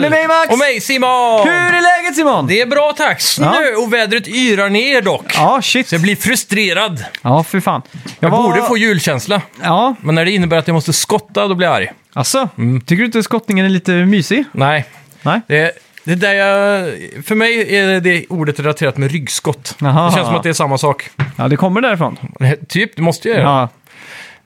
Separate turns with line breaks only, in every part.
Med mig Max!
Och mig Simon!
Hur är läget Simon?
Det är bra tack. Snö
Ja.
och vädret yrar ner dock.
Ja, shit.
Så jag blir frustrerad.
Ja, för fan.
Jag
var-
borde få julkänsla.
Ja,
Men när det innebär att jag måste skotta, då blir jag arg.
alltså.
Mm.
Tycker du inte skottningen är lite mysig?
Nej.
Nej.
Det, det där jag, för mig är det ordet relaterat med ryggskott.
Jaha.
Det känns som att det är samma sak.
Ja, det kommer därifrån.
Typ, det måste jag göra. Ja.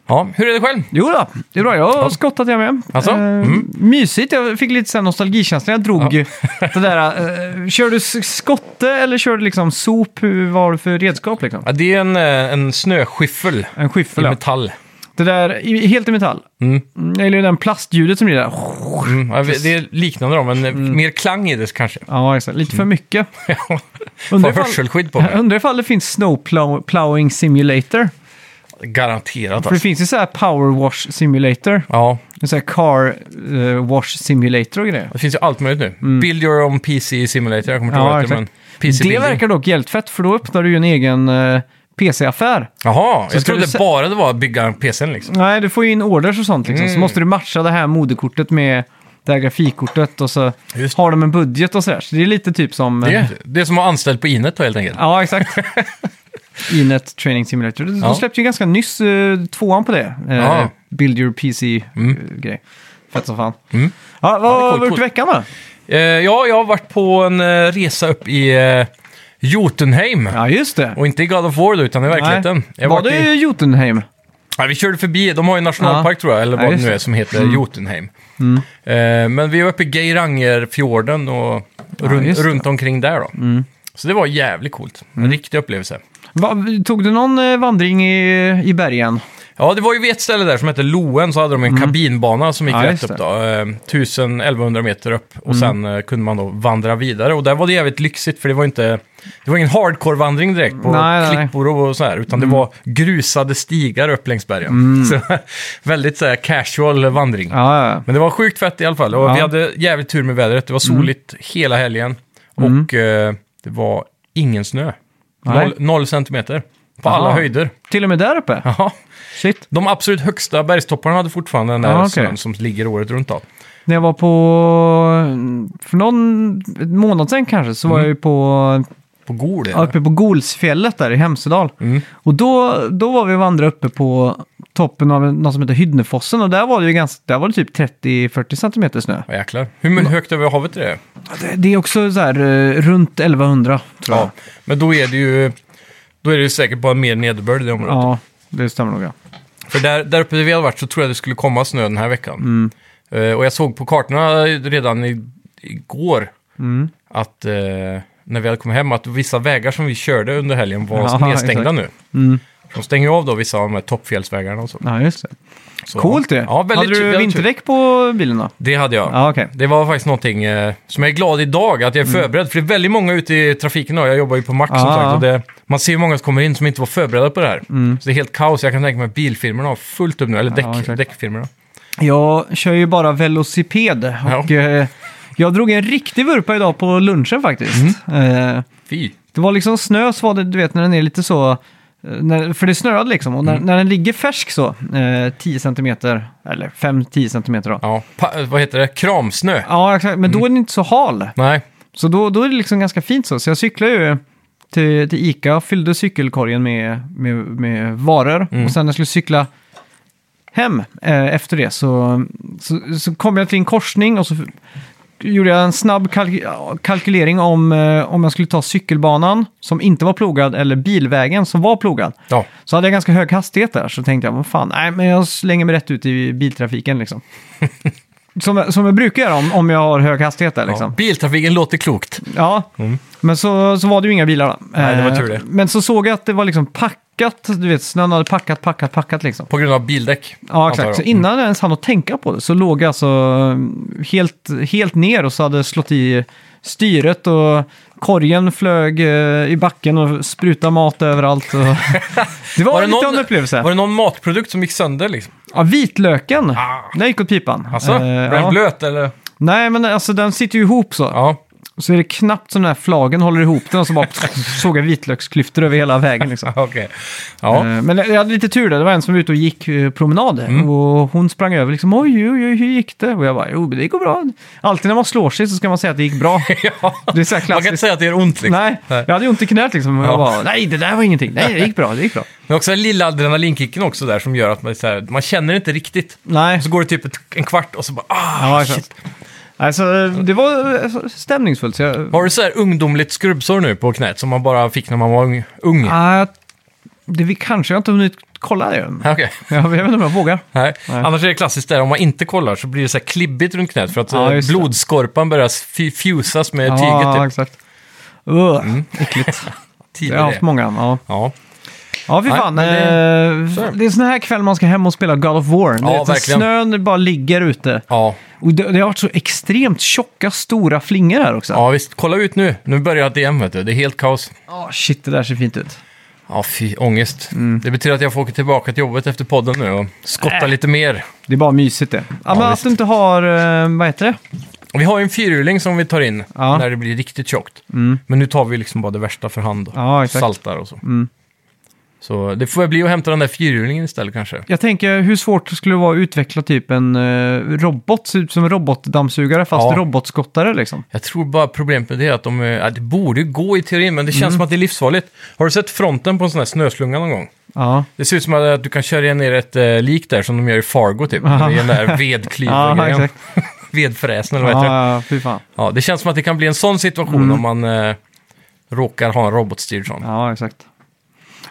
Ja.
Hur är det själv?
Jo då, det är bra. Jag har skottat jag med.
Alltså?
Eh,
Mm.
Mysigt. Jag fick lite så här nostalgikänsla. Jag drog det där. eh, kör du s- skotte eller kör du liksom sop? Hur- Vad har du för redskap liksom?
Ja, det är en, eh, en snöskyffel
En
i
skyffel, ja.
metall.
Det där, i- helt i metall.
Mm.
Mm, Eller den plastljudet som blir där.
Mm. Ja, Det är liknande dem, men eh,
Mm.
mer klang i det kanske.
Ja, exakt. Lite för mycket.
Mm. Ja.
Undrar
Får
ifall-
hörselskydd på
Jag
mig.
undrar ifall det finns snowplow- plowing simulator.
Garanterat
För det
alltså.
finns ju så här power wash simulator.
Ja,
Så här car eh, wash simulator och grejer.
Det finns ju allt möjligt nu. Build your own PC simulator, jag kommer inte
Mm. Ja,
ihåg vad det heter, men
exakt.
PC
Det
building.
verkar dock jävligt fett för då öppnar du ju en egen eh, PC-affär.
Jaha, jag
ska
trodde
du se-
bara det var att bygga PCn liksom.
Nej, du får ju in orders och sånt liksom. Så måste du matcha det här moderkortet med det här grafikkortet och så
Just.
har de en budget och sådär. Så det är lite typ som... eh,
Det, det är som att vara anställd på Inet då helt enkelt.
Ja, exakt. Inet Training Simulator. De
Ja.
släppte ju ganska nyss eh, tvåan på det. Eh,
Ja.
Build your PC-grej. Fett som fan.
Mm.
Ja, vad
det är
har
coolt,
du gjort i
coolt.
veckan då?
Eh, ja, jag har varit på en eh, resa upp i eh, Jotunheim.
Ja, just det.
Och inte i God of War då, utan i verkligheten. Jag
var
har varit
det
i-
i... Jotunheim?
Ja, vi körde förbi, de har ju en nationalpark
Ja.
tror jag, eller
Ja,
vad det
just
nu
det. Mm.
är som heter Jotunheim. Eh, men vi var uppe i Geirangerfjorden och runt,
just det. Mm.
runt omkring där då. Så det var jävligt coolt. En riktig upplevelse.
Va, tog du någon eh, vandring i, i bergen?
Ja, det var ju vid ett ställe där som hette Loen, så hade de en kabinbana som gick
Mm. Ja,
rätt
just Mm.
upp då. Eh, 1000-1100 meter upp och sen eh, kunde man då vandra vidare. Och där var det jävligt lyxigt för det var inte... Det var ingen hardcore-vandring direkt på
Nej, nej. Mm.
klippor och sådär, utan det var grusade stigar upp längs bergen. Så, väldigt så här, casual vandring.
Ja, ja, ja.
Men det var sjukt fett i alla fall. Och
Ja. Mm.
vi hade jävligt tur med vädret. Det var soligt hela helgen. Och eh, det var ingen snö.
Nej.
Noll, noll centimeter. På
Jaha.
alla höjder.
Till och med där uppe?
Ja.
Shit.
De absolut högsta bergstopparna hade fortfarande den där
Ja, okej.
snön som ligger året runt. Då.
När jag var på... För någon månad sedan kanske så var
Mm.
jag ju på,
På Gol.
ja, uppe på Golsfjället där i Hemsedal.
Mm.
Och då, då var vi och vandrade uppe på toppen av en- något som heter Hydnefossen och där var det ju ganska, där var det typ 30-40 centimeter snö.
Ja, jäklar. Hur högt över havet är det?
Det, det är också så här eh, runt 1100 tror jag.
Ja. Men då är det ju... Då är det ju säkert bara mer nederbörd i det området.
Ja, det stämmer nog ja.
För där, där uppe där vi hade varit så tror jag det skulle komma snö den här veckan.
Mm.
Eh, och jag såg på kartorna redan i, igår
Mm,
att eh, när vi hade kommit hem att vissa vägar som vi körde under helgen var
Ja,
nedstängda
exakt.
nu. De stänger ju av då vissa av de här toppfjällsvägarna och så.
mm. Ja, just det.
så.
Coolt det.
Ja, väldigt
Hade
tur-
du
väldigt tur.
vinterdäck på bilen då?
Det hade jag.
Ja, okej.
Det var faktiskt någonting eh, som jag är glad idag att jag är
Mm.
förberedd. För det är väldigt många ute i trafiken och jag jobbar ju på Max som
Ja,
sagt.
ja.
Och det, man ser hur många som kommer in som inte var förberedda på det här. Så det är helt kaos. Jag kan tänka mig att bilfirmorna har fullt upp nu, eller däck,
Mm. exakt.
däckfirmorna.
Jag kör ju bara velociped och eh, jag drog en riktig vurpa idag på lunchen faktiskt.
Mm.
Eh,
Fy.
det var liksom snö, så var det, du vet när den är lite så, eh, när, för det snöade liksom, och när, när den ligger färsk så, eh, 10 centimeter, eller 5-10 centimeter då. Ja,
Ja, pa- vad heter det? Kramsnö.
exakt, men då är den inte så hal.
Nej,
Så då, då är det liksom ganska fint så. Så jag cyklade ju till, till Ica och fyllde cykelkorgen med, med, med varor. Och sen när jag skulle cykla hem eh, efter det så, så, så kom jag till en korsning och så gjorde jag en snabb kalk kalkylering om, eh, om jag skulle ta cykelbanan som inte var plogad eller bilvägen som var plogad.
ja.
Så hade jag ganska hög hastighet där, så tänkte jag, vad fan, nej men jag slänger mig rätt ut i biltrafiken liksom. som, jag- som jag brukar göra om, om jag har hög hastighet där liksom.
ja. Biltrafiken låter klokt.
Ja, men så, så var det ju inga bilar. då.
Mm. Nej, det var
Eh,
tur det.
Men så såg jag att det var liksom packat, du vet, snön hade packat, packat, packat liksom.
På grund av bildäck.
Ja,
antar jag.
exakt. Så innan jag ens hann att tänka på det så låg jag alltså mm, helt, helt ner och så hade jag slått i styret och korgen flög eh, i backen och sprutade mat överallt. Och... Det var,
Var det,
lite av en
någon,
upplevelse.
Mm. var det någon matprodukt som gick sönder? Liksom?
Ja, vitlöken,
Ah.
den gick åt pipan.
Alltså,
Eh,
blev den
ja.
blöt eller?
Nej, men alltså den sitter ju ihop så.
Ja.
Så är det knappt som den här flagen håller ihop den och så bara såg jag vitlöksklyftor över hela vägen. Liksom.
Okej. Ja.
Eh, Men jag hade lite tur där, det var en som var ute och gick eh, promenad.
Mm.
Och hon sprang över liksom, oj, oj, oj, hur gick det? Och jag bara, jo, men det går bra. Alltid när man slår sig så ska man säga att det gick bra.
ja.
Det är så här
Man kan inte
klassiskt.
säga att det är ont liksom.
Nej, jag hade ju ont i knät liksom. Och
Ja.
jag bara, nej, det där var ingenting. Nej, det gick bra, det gick bra.
Men också den lilla adrenalinkicken också där som gör att man, är så här, man känner inte riktigt.
Nej,
Och så går det typ ett, en kvart och så bara ah,
ja,
shit.
shit. Alltså, det var eh, stämningsfullt. Så jag,
Har du så här ungdomligt skrubbsår nu på knät som man bara fick när man var ung? ung?
Ah, det vi kanske jag inte hunnit kolla det än.
Okej.
Jag vet inte om jag vågar.
Nej.
Nej.
Annars är det klassiskt där, om man inte kollar så blir det så här klibbigt runt knät för att
Ja,
eh,
just det.
blodskorpan börjar f- fusas med tyget.
Ja,
Typ. Mm,
exakt. Uh, Äckligt. Jag har
Tidigare.
haft många. Ja,
Ja.
ja fy
Nej,
fan.
men det-
eh,
så är det.
det är sån här kväll man ska hem och spela God of War.
Ja,
Ja,
verkligen.
snön bara ligger ute.
Ja.
Och det, det har varit så extremt tjocka, stora flingor här också. Ja,
ja, visst. Kolla ut nu. Nu börjar DM, vet du. Det är helt kaos.
Ah, shit, det där ser fint ut.
Ja, fy. Ångest. Det betyder att jag får åka tillbaka till jobbet efter podden nu och skotta
Mm. Äh.
lite mer.
Det är bara mysigt det. Ja, men att
visst.
du inte har, eh, vad heter det?
Vi har ju en fyrhjuling som vi tar in
Ja. Mm.
när det blir riktigt tjockt. Men nu tar vi liksom bara det värsta för hand och
Ja, exakt. Mm.
saltar och så. Så det får väl bli att hämta den där fyrhjulingen istället kanske.
Jag tänker, hur svårt skulle det vara att utveckla typ en eh, robot, ser ut som en robotdammsugare fast
Ja.
robotskottare liksom?
Jag tror bara problemet med det är att de, är- ja, det borde ju gå i teorin, men det
Mm.
känns som att det är livsfarligt. Har du sett fronten på en sån här snöslunga någon gång?
Ja.
Det ser ut som att du kan köra ner ett eh, lik där som de gör i Fargo typ.
Aha.
I den där
Ja,
vedklyvaren.
exakt.
Vedfräsen eller vad heter det?
Ja, Mm. ja, fy fan.
Ja, det känns som att det kan bli en sån situation om man eh, råkar ha en robotstyrd sån.
Ja, exakt.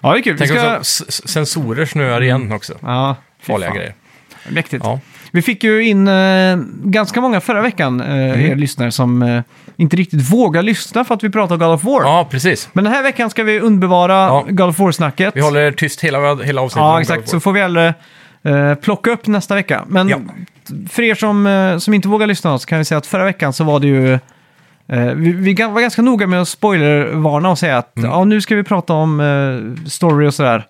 Ja, det är kul. Vi
Tänk
ska...
också, s- s- sensorer snöar igen också.
Ja, fy
Farliga
fan.
grejer.
Mäktigt.
Ja.
Vi fick ju in eh, ganska många förra veckan, eh,
Mm.
er lyssnare, som eh, inte riktigt vågar lyssna för att vi pratar God of War.
ja, precis.
Men den här veckan ska vi undbevara
Ja.
God of War-snacket.
Vi håller er tyst hela, hela avsnittet.
Ja, exakt. Så får vi hellre eh, plocka upp nästa vecka. Men
Ja.
för er som, eh, som inte vågar lyssna så kan vi säga att förra veckan så var det ju... Eh, vi, vi ga- var ganska noga med att spoilervarna och säga
Mm.
att ja, nu ska vi prata om eh, story och sådär.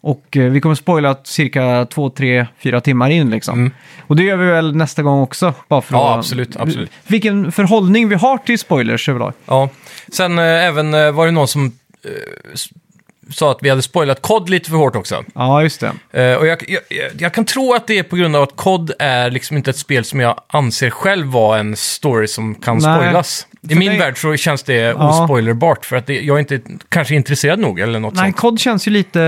Och eh, vi kommer spoila cirka två, tre, fyra timmar in liksom.
Mm.
Och det gör vi väl nästa gång också. Bara för
Ja,
att,
absolut, absolut.
Vilken förhållning vi har till spoilers överlag.
Ja. Sen eh, även eh, var det någon som eh, s- sa att vi hade spoilat COD lite för hårt också.
Ja, just det.
Eh, och jag, jag, jag- jag kan tro att det är på grund av att COD är liksom inte ett spel som jag anser själv vara en story som kan
Nej.
spoilas. I
För
min
mig-
värld så känns det
Ja.
ospoilerbart för att det, jag är inte kanske intresserad nog eller något
Nej,
sånt.
COD känns ju lite...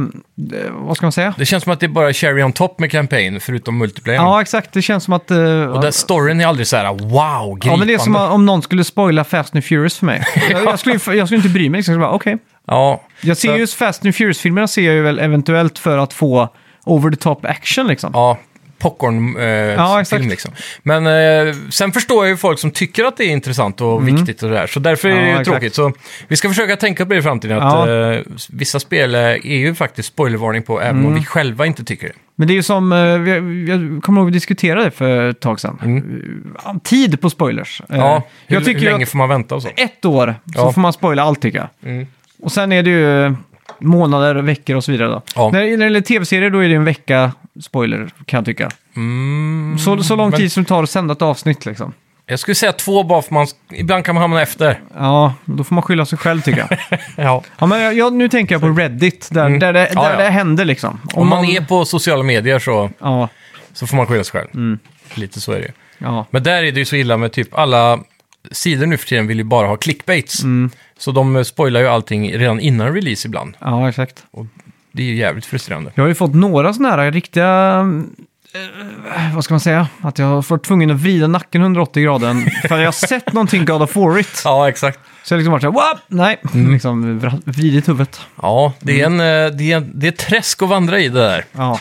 eh, vad ska man säga?
Det känns som att det är bara cherry on top med campaign förutom multiplayer.
Ja, exakt. Det känns som att... eh,
Och där storyn är aldrig så här wow, gripande.
Ja, men det är som om någon skulle spoila Fast and Furious för mig. jag, jag, skulle, jag skulle inte bry mig. Liksom. Jag, skulle bara, okej.
Ja.
jag ser
Så-
just Fast and Furious-filmerna ser jag ju väl eventuellt för att få over the top action liksom.
Ja, popcornfilm eh,
Ja, exakt.
film liksom. Men eh, sen förstår jag ju folk som tycker att det är intressant och viktigt och det där. Så därför är det
Mm. Ja,
ju
exakt.
tråkigt. Så vi ska försöka tänka på det i framtiden. Att
Ja.
eh, vissa spel eh, är ju faktiskt spoilervarning på, även om vi själva inte tycker det.
Men det är ju som, Mm. eh, vi- jag kommer ihåg att vi diskuterade för ett tag sedan. Eh, Tid på spoilers. Eh,
Mm. Ja, hur,
jag tycker
hur
ju
länge
att
får man vänta och så?
ett år så
Ja. Mm.
får man spoila allt tycker jag. Och sen är det ju eh, månader, veckor och så vidare. Då.
Ja.
När, när det gäller tv-serier då är det en vecka spoiler kan jag tycka.
Mm,
Så, så lång
men-
tid som det tar att sända ett avsnitt liksom.
Jag skulle säga två bara för man, ibland kan man hamna efter.
Ja, då får man skylla sig själv tycker jag.
Ja.
Ja, men jag, jag, nu tänker jag på Reddit, där,
Mm.
där, det, där
Ja, ja.
det händer liksom.
Om man är på sociala medier så,
Ja,
så får man skylla sig själv.
Mm.
Lite så är det ju.
ja.
Men där är det ju så illa med typ alla sidor nu för tiden vill ju bara ha clickbaits.
Mm.
Så de eh, spoilar ju allting redan innan release ibland.
ja, exakt.
Det är ju jävligt frustrerande.
Jag har ju fått några sådana här riktiga... eh, vad ska man säga? Att jag har varit tvungen att vrida nacken 180 grader för jag har sett någonting God of War it.
Ja, exakt.
Så jag har liksom varit såhär, "Wap!" nej,
Mm.
liksom vra- vridit huvudet.
Ja, det
Mm.
är, en, eh, det, är en, det är ett träsk att vandra i det där.
Ja,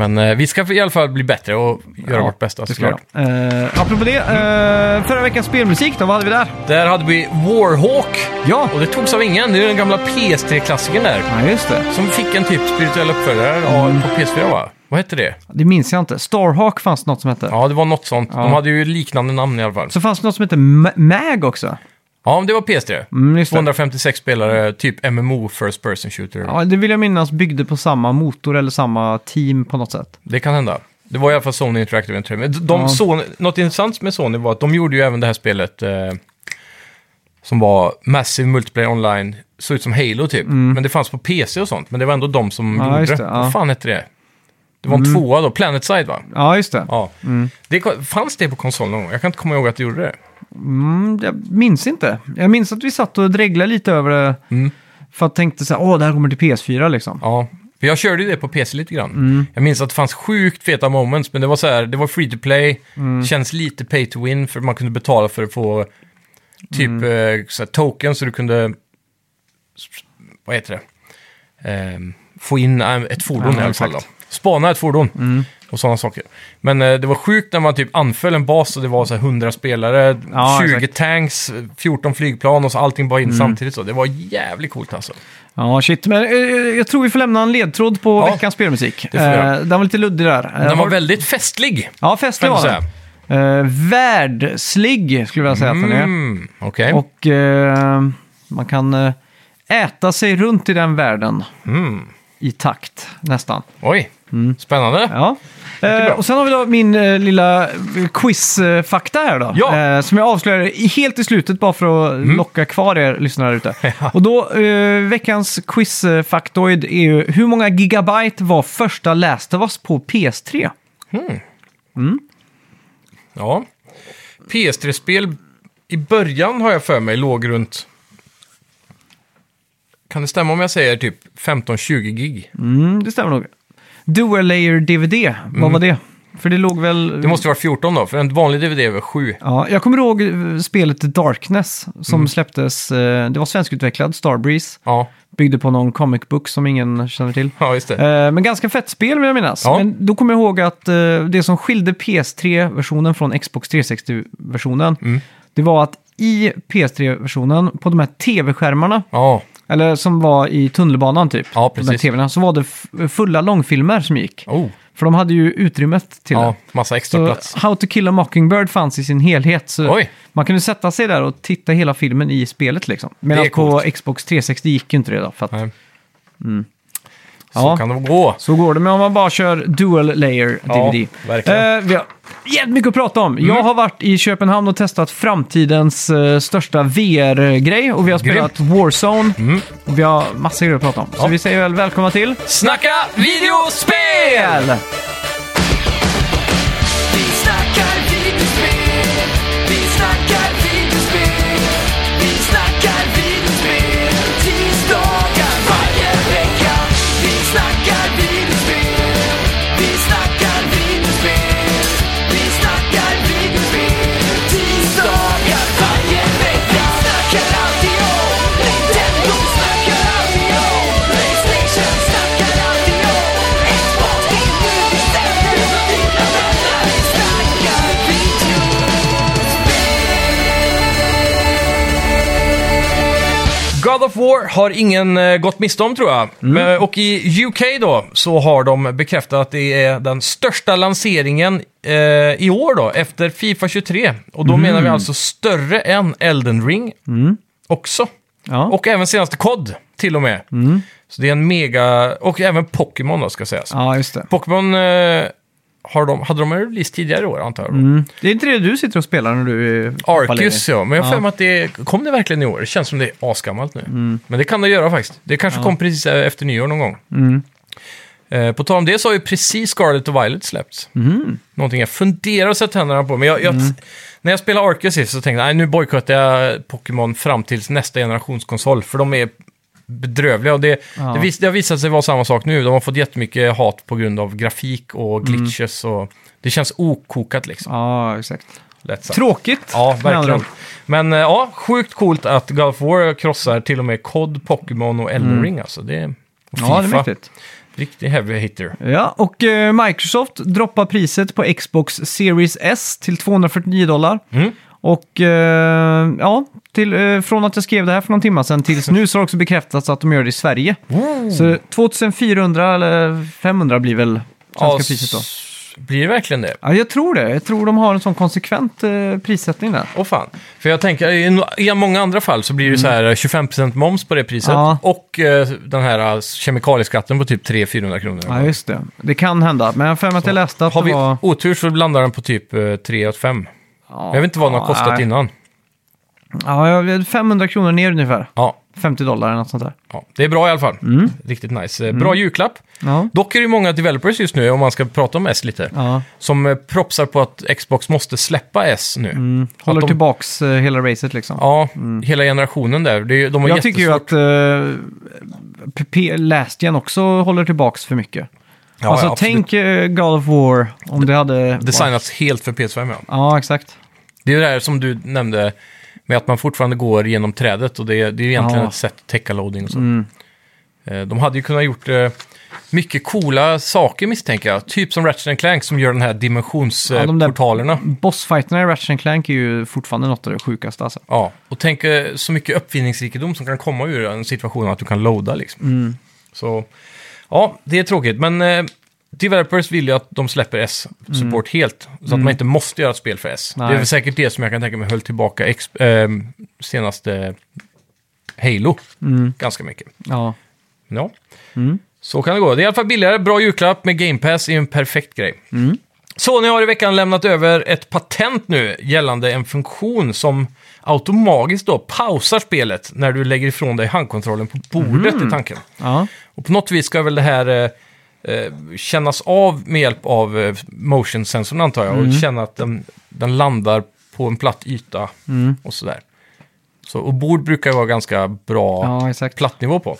Men eh, vi ska i alla fall bli bättre och göra
Ja,
vårt bästa
det ska
såklart.
jag. Uh, apropå det, eh, förra veckans spelmusik då, vad hade vi där?
Där hade vi Warhawk.
Ja,
Och det togs av ingen. Det är den gamla PS3-klassikern där.
ja just det.
Som fick en typ spirituell uppföljare av-
Mm.
på PS4 va? Vad hette det?
Det minns jag inte. Starhawk fanns det något som hette.
Ja, det var något sånt.
Ja.
De hade ju liknande namn i alla fall.
Så fanns det något som hette Ma- Mag också.
Ja, men det var PS3.
Mm, just det.
256 spelare, typ MMO, First Person Shooter.
Mm. Ja, det vill jag minnas byggde på samma motor eller samma team på något sätt.
Det kan hända. Det var i alla fall Sony Interactive Entertainment. De,
Ja.
Sony, något intressant med Sony var att de gjorde ju även det här spelet eh, som var Massive Multiplayer Online, såg ut som Halo typ. Men det fanns på PC och sånt, men det var ändå de som
Mm. Ja,
gjorde
just
det.
det, ja. Mm.
Vad fan hette det? Det var en tvåa då, Planetside va?
Ja, just det.
Ja. Det, ko- fanns det på konsol någon gång? Jag kan inte komma ihåg att det gjorde det.
Mm, jag minns inte. Jag minns att vi satt och dreglade lite över det.
Mm.
För att tänkte så här, åh, det här kommer till PS4 liksom.
Ja, för jag körde ju det på PC lite grann.
Mm.
Jag minns att det fanns sjukt feta moments, men det var så här, det var free to play,
Mm.
känns lite pay to win, för man kunde betala för att få typ
Mm.
eh, så här, tokens så du kunde, vad heter det, Ehm, få in eh, ett fordon
Ja,
i alla fall. Då.
exakt. Mm.
Spana ett fordon. Och sådana saker. Men eh, det var sjukt när man typ anföll en bas och det var så här 100 spelare,
Ja,
20
exakt. Mm.
tanks, 14 flygplan och så allting bara in samtidigt. Så. Det var jävligt coolt alltså.
Ja, shit. Men eh, jag tror vi får lämna en ledtråd på
Ja,
veckans spelmusik.
det får vi göra.
Eh, den var lite luddig där. Eh,
Den var
har-
väldigt festlig.
Ja, festlig
Kan
var
du
den. Eh, världslig skulle jag vilja säga att den är.
Mm, Okej.
Och eh, man kan eh, äta sig runt i den världen
Mm.
i takt nästan.
Oj, spännande.
Mm. Ja. Eh,
bra.
och sen har vi då min eh, lilla quizfakta här då.
Ja.
Eh, som jag avslöjar i- helt i slutet bara för att locka kvar er lyssnare ute. Och då, eh, veckans quizfaktoid är ju hur många gigabyte var första Last of Us på PS3?
Ja. PS3-spel i början har jag för mig låg runt... Kan det stämma om jag säger typ 15-20 gig?
Mm, det stämmer nog. Dual layer DVD, vad var det? För det låg väl...
Det måste ju vara 14 då, för en vanlig DVD är väl 7.
Ja, jag kommer ihåg eh, spelet Darkness som släpptes, eh, det var svenskutvecklat, Starbreeze,
Ja,
byggde på någon comic book som ingen känner till.
ja just det.
Eh, Men ganska fett spel vill jag minnas.
Ja.
Men då kommer jag ihåg att eh, det som skilde PS3-versionen från Xbox 360-versionen,
Mm.
det var att i PS3-versionen, på de här tv-skärmarna,
Ja,
eller som var i tunnelbanan typ,
Ja,
på de här
precis.
TV:na, så var det f- fulla långfilmer som gick.
oh.
För de hade ju utrymmet till det.
ja massa extra
Så
plats.
How to kill a mockingbird fanns i sin helhet. Så
Oj.
man kunde sätta sig där och titta hela filmen i spelet liksom. Medan på
coolt.
Xbox 360 gick ju inte det då. För att, Mm.
Nej. Så
ja,
kan det gå.
så går det med om man bara kör dual layer
Ja,
DVD.
verkligen. Mm.
Eh, vi har jävligt mycket att prata om. Jag har varit i Köpenhamn och testat framtidens eh, största VR-grej. Och vi har spelat Warzone. Och vi har massor grejer att prata om. Så
Mm. Ja.
vi säger väl välkomna till...
Snacka videospel!
Spel!
Vi snackar videospel, vi snackar videospel, vi snackar videospel, tisdagar varje vecka. Vi snackar videospel, vi snackar videospel, vi snackar videospel, tisdagar varje vecka. Vi snackar alltid om Nintendo, snackar alltid om Playstation, snackar alltid om Xbox, din nu bestämmer och dina vänner. Vi snackar video.
God of War har ingen eh, gått miste om tror jag.
Mm.
Eh, och i UK då så har de bekräftat att det är den största lanseringen eh, i år då efter Fifa 23. Och
Mm.
då menar vi alltså större än Elden Ring också.
Ja.
Och även senaste COD till och med. Så det är en mega... Och även Pokémon då ska sägas.
Mm. ja, just det.
Pokémon eh, har de, hade de en release tidigare i år antar jag.
Mm. Det är inte det du sitter och spelar när du är...
Arcus ja, men jag har
Ja. Mm.
för mig att det kom det verkligen i år. Det känns som det är asgammalt nu. Men det kan det göra faktiskt. Det kanske kom precis eh, efter nyår någon gång.
Mm.
Eh, på tal om det så har ju precis Scarlet och Violet släppts.
Mm.
Någonting jag funderar att sätta händerna på. Men jag, jag, när jag spelade Arcus sist så tänkte jag nej, nu bojkottar jag Pokémon fram till nästa generations konsol. För de är bedrövliga. Och det,
Ja.
det, vis, det har visat sig vara samma sak nu. De har fått jättemycket hat på grund av grafik och
Mm.
glitches. Och, det känns okokat liksom.
Ja, exakt.
Lätt sagt.
Tråkigt.
Ja,
med andra
verkligen.
ord.
Men eh, ja, sjukt coolt att God of War krossar till och med COD, Pokémon och Elden Ring alltså. Det är och
Mm. Ja, det är
FIFA.
mäktigt.
Riktig heavy hitter.
Ja, och eh, Microsoft droppar priset på Xbox Series S till 249 dollar.
Mm.
Och eh, ja, till, eh, från att jag skrev det här för någon timme sedan tills nu så har det också bekräftats att de gör det i Sverige. Så
Mm.
2400 eller 500 blir väl svenska
Ja,
priset då.
s- Blir det verkligen det?
Ja, jag tror det. Jag tror de har en sån konsekvent eh, prissättning där.
Åh fan. För jag tänker, i, no- i många andra fall så blir det så här eh, 25% moms på det priset.
Mm. Ja.
Och eh, den här eh, kemikalieskatten på typ 300-400 kronor.
Ja, just det. Det kan hända. Men jag har för mig att jag läste att
Har
det
vi
var...
otur så landar den på typ eh, 3 5.
Ja,
Jag vet inte vad den
ja,
har kostat
nej.
innan.
Ja, jag vet, 500 kronor ner ungefär.
Ja,
50 dollar eller något sånt där.
ja, det är bra i alla fall.
Mm.
Riktigt nice. Eh, Bra julklapp.
Ja.
Dock är det ju många developers just nu, om man ska prata om S lite,
Ja.
som eh, propsar på att Xbox måste släppa S nu. Att
Mm, Håller
de-
tillbaks eh, hela racet liksom.
Ja, hela generationen där. Det är, ju- de har
jag tycker ju
jättesvårt-
att eh, PP Last Gen också håller tillbaks för mycket.
Ja,
alltså
ja, absolut.
tänk eh, God of War om det hade...
Designats helt för PS5, ja.
Ja, exakt.
Det är ju det här som du nämnde med att man fortfarande går genom trädet och det, är- det är ju egentligen
Ja. Mm.
ett sätt att täcka loading och så. Eh, De hade ju kunnat gjort eh, mycket coola saker misstänker jag. Typ som Ratchet Clank som gör den här
Ja, de där-
dimensionsportalerna. Ja,
Bossfighterna i Ratchet Clank är ju fortfarande något av det sjukaste alltså.
och tänk eh, så mycket uppfinningsrikedom som kan komma ur en situation att du kan loada liksom. Så ja, det är tråkigt. Men eh, developers vill ju att de släpper S-support helt. Så att man inte måste göra ett spel för S. Det
Nej.
är väl säkert det som jag kan tänka mig höll tillbaka ex- ehm, senaste Halo ganska mycket.
Ja.
Ja. Så kan det gå. Det är i alla fall billigare, bra julklapp med Game Pass är ju en perfekt grej. Sony har i veckan lämnat över ett patent nu gällande en funktion som automatiskt då pausar spelet när du lägger ifrån dig handkontrollen på bordet i tanken.
ja.
Och på något vis ska väl det här eh, eh, kännas av med hjälp av eh, motion-sensorn antar jag. Och känna att den, den landar på en platt yta och sådär. Så, och bord brukar ju vara ganska bra
Ja, exakt.
plattnivå på.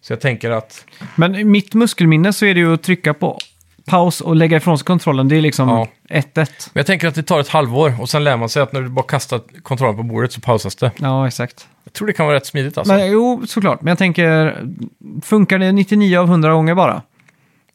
Så jag tänker att
Men i mitt muskelminne så är det ju att trycka på paus och lägga ifrån sig kontrollen. Det är liksom
Ja.
1-1.
Men jag tänker att det tar ett halvår och sen lär man sig att när du bara kastar kontrollen på bordet så pausas det.
Ja, exakt.
Jag tror det kan vara rätt smidigt alltså.
Men, jo, såklart. Men jag tänker, funkar det 99 av 100 gånger bara?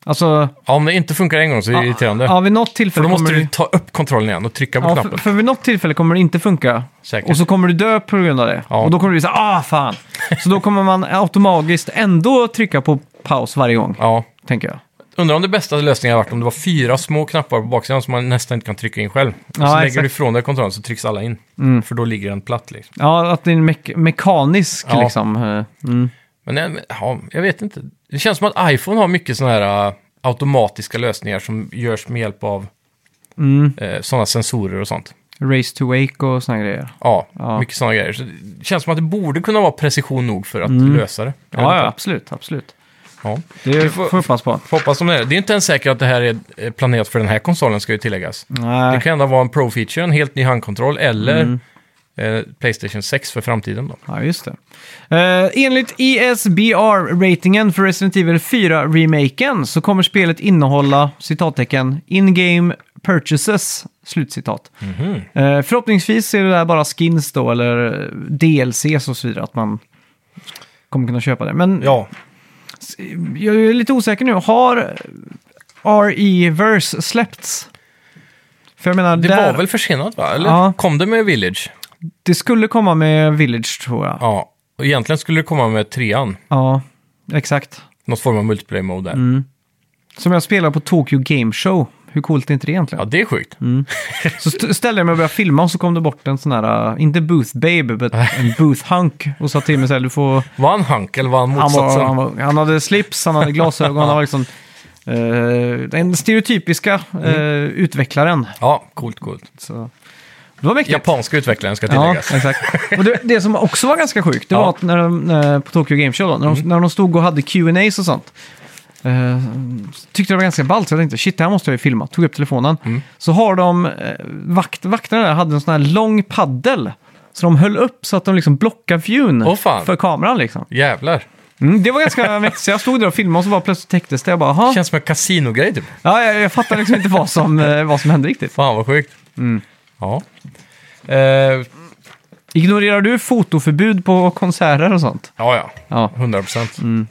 Alltså,
Ja, om det inte funkar en gång så är det irriterande.
ja, vid något
För
tillfälle
då måste
kommer
du ta upp kontrollen igen och trycka på
Ja,
knappen.
för, för vid något tillfälle kommer det inte funka.
Säkert.
Och så kommer du dö på grund av det.
Ja.
Och då kommer du säga ah fan. Så då kommer man automatiskt ändå trycka på paus varje gång,
Ja.
tänker jag.
Undrar om det bästa lösningen har varit om det var fyra små knappar på baksidan som man nästan inte kan trycka in själv. Och så
Ja,
lägger
exakt. Mm.
du ifrån dig kontrollen så trycks alla in. För då ligger den platt liksom.
Ja, att det är en mek- mekanisk
Ja.
liksom. eh, Mm.
Men eh, ja, jag vet inte. Det känns som att iPhone har mycket sådana här eh, automatiska lösningar som görs med hjälp av
Mm.
eh, sådana sensorer och sånt.
Race to wake och såna grejer.
Ja,
Ja.
mycket sådana grejer. Så det känns som att det borde kunna vara precision nog för att lösa det. Jag
Mm. Ja,
vet
ja,
inte.
absolut, absolut.
ja.
Det
får-
får vi hoppas på.
Får Hoppas om det. är. Det är inte ens säkert att det här är eh, planerat för den här konsolen, ska ju tilläggas. Det
Nej, Mm.
kan ändå vara en pro-feature, en helt ny handkontroll, eller eh, Playstation 6 för framtiden. Då.
ja just det. Eh, enligt ESBR-ratingen för Resident Evil 4-remaken så kommer spelet innehålla citattecken in-game purchases, slutcitat.
Mhm.
Eh, förhoppningsvis är det där bara skins då, eller DLCs och så vidare, att man kommer kunna köpa det. Men
Ja,
jag är lite osäker nu, har RE-verse släppts? För jag menar,
det
där,
var väl försenat, va? Eller
Ja.
kom det med Village?
det skulle komma med Village tror jag.
Ja, och egentligen skulle det komma med trean.
Ja, exakt.
Något form av multiplayer-mode där.
Mm. Som jag spelar på Tokyo Game Show. Hur coolt är inte det
Ja,
egentligen?
det är sjukt.
Mm. Så st- ställde jag mig och började filma och så kom det bort en sån här, uh, inte Booth Babe, but en Booth Hunk. Och sa till mig så här, du får...
Var han Hank eller var han
Han,
motsatsen?
var, han, var, han hade slips, han hade glasögon, han var liksom... eh, den stereotypiska eh, utvecklaren.
Ja, coolt, coolt.
Så. Det var mäktigt.
Japanska utvecklaren ska
Ja,
tilläggas.
exakt. Och det, det som också var ganska sjukt, det
Ja. Mm.
var att när de, eh, på Tokyo Game Show, då, när, de, när de stod och hade Q&As och sånt, eh, tyckte det var ganska ballt, så jag tänkte shit, det här måste jag ju filma. Tog upp telefonen.
Mm.
Så har de, eh, vakt, vakterna där hade en sån här lång paddel. Så de höll upp så att de liksom blockade viewn
Åh, fan.
för kameran liksom.
Jävlar.
Mm, det var ganska mäktigt. Så jag stod där och filmade och så bara plötsligt täcktes det. Jag bara, "Jaha."
Känns som en kasinogrej typ.
ja, jag, jag fattar liksom inte vad som, eh, vad som hände riktigt.
Fan vad sjukt.
Mm.
Ja. Eh,
Ignorerar du fotoförbud på konserter och sånt?
ja, ja.
Ja.
100 procent.
Mm.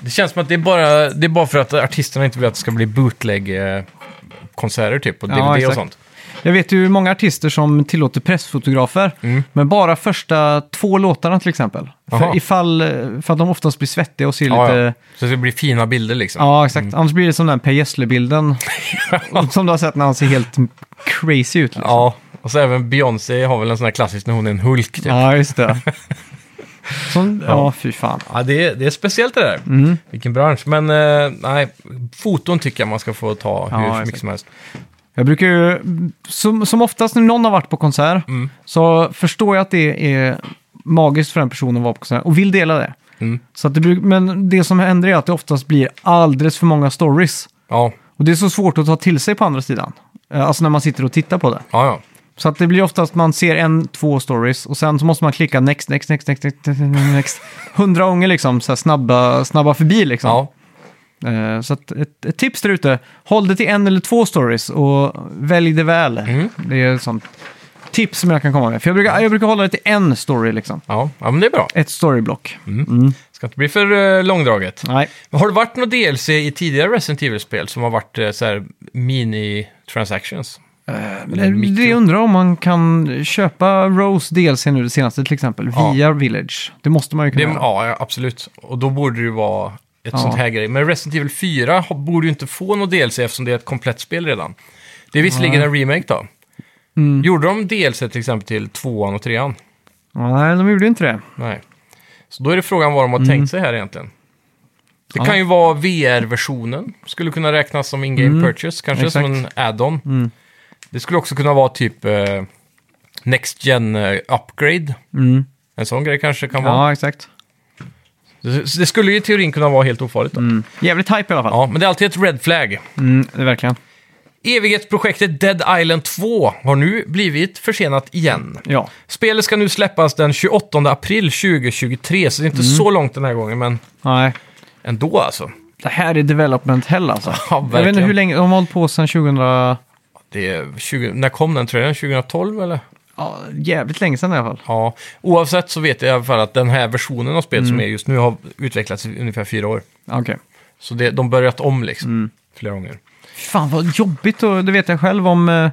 Det känns som att det är, bara, det är bara för att artisterna inte vill att det ska bli bootleg-konserter typ, på
Ja,
DVD och
exakt.
sånt.
Jag vet ju många artister som tillåter pressfotografer, men bara första två låtarna till exempel.
Mm. Jaha.
För, ifall, för att de oftast blir svettiga och ser
Ja, ja.
lite...
Så det blir fina bilder liksom.
Ja, exakt. Annars blir det som den Per Gessle-bilden som du har sett när han ser helt crazy ut. Liksom.
Ja, och så även Beyoncé har väl en sån här klassisk när hon är en Hulk. Typ. Ja.
Ja, just det. Som, ja. fy fan.
det, är, det är speciellt det där.
Mm.
Vilken bransch. Men eh, nej, foton tycker jag man ska få ta hur
Ja,
mycket
exakt.
som helst.
Jag brukar ju, som, som oftast när någon har varit på konsert,
Mm.
så förstår jag att det är magiskt för en person att vara på konsert och vill dela det.
Mm.
Så att det, bruk- men det som händer är att det oftast blir alldeles för många stories.
Ja,
Och det är så svårt att ta till sig på andra sidan. Eh, Alltså när man sitter och tittar på det.
ja, ja.
Så att det blir oftast man ser en, två stories och sen så måste man klicka next, next, next, next, next, next, next, next. hundra gånger liksom, så här snabba, snabba förbi liksom.
ja.
Eh, Så att ett, ett tips där ute, håll det till en eller två stories och välj det väl.
Mm.
Det är ett sånt tips som jag kan komma med. För jag brukar, jag brukar hålla det till en story liksom.
Ja, ja men det är bra.
Ett storyblock.
Mm. Ska inte bli för eh, långdraget.
Nej.
Men har det varit något DLC i tidigare Resident Evil-spel som har varit eh, så här mini-transactions? Äh,
Eh, Det, det jag undrar om man kan köpa Rose DLC nu det senaste till exempel,
Ja.
via Village. Det måste man ju
Det,
kunna göra.
ja, ja, absolut. Och då borde det ju vara ett
Ja.
sånt här grej. Men Resident Evil 4 har- borde ju inte få något DLC eftersom det är ett komplett spel redan. Det är visserligen en remake då. Gjorde de DLC till exempel till tvåan och trean?
Nej, de gjorde inte det.
Nej. Så då är det frågan vad de har tänkt sig här egentligen. Det
Mm. Ja.
kan ju vara VR-versionen. Skulle kunna räknas som in-game
Mm.
purchase, kanske som en add-on. Det skulle också kunna vara typ eh, Next Gen eh, Upgrade.
Mm.
En sån grej kanske kan vara.
Ja, exakt.
Det, så det skulle ju i teorin kunna vara helt ofarligt. Då.
Mm. Jävligt hype i alla fall.
Ja, men det är alltid ett red flag.
Mm, det är verkligen.
Evighetsprojektet Dead Island 2 har nu blivit försenat igen.
Ja.
Spelet ska nu släppas den 28 april 2023, så det är inte
Mm.
så långt den här gången, men
Nej.
ändå alltså.
Det här är development hell alltså. jag vet inte
verkligen.
hur länge, de har hållit på sedan 2000... Ja,
Det är 20, när kom den trailern? 2012 eller?
jävligt länge sedan i alla fall.
Ja, oavsett så vet jag i alla fall att den här versionen av spelet
Mm.
som är just nu har utvecklats i ungefär fyra år.
Okej.
Så det, de börjat om liksom,
Mm.
flera gånger.
Fan vad jobbigt och det vet jag själv om, eh,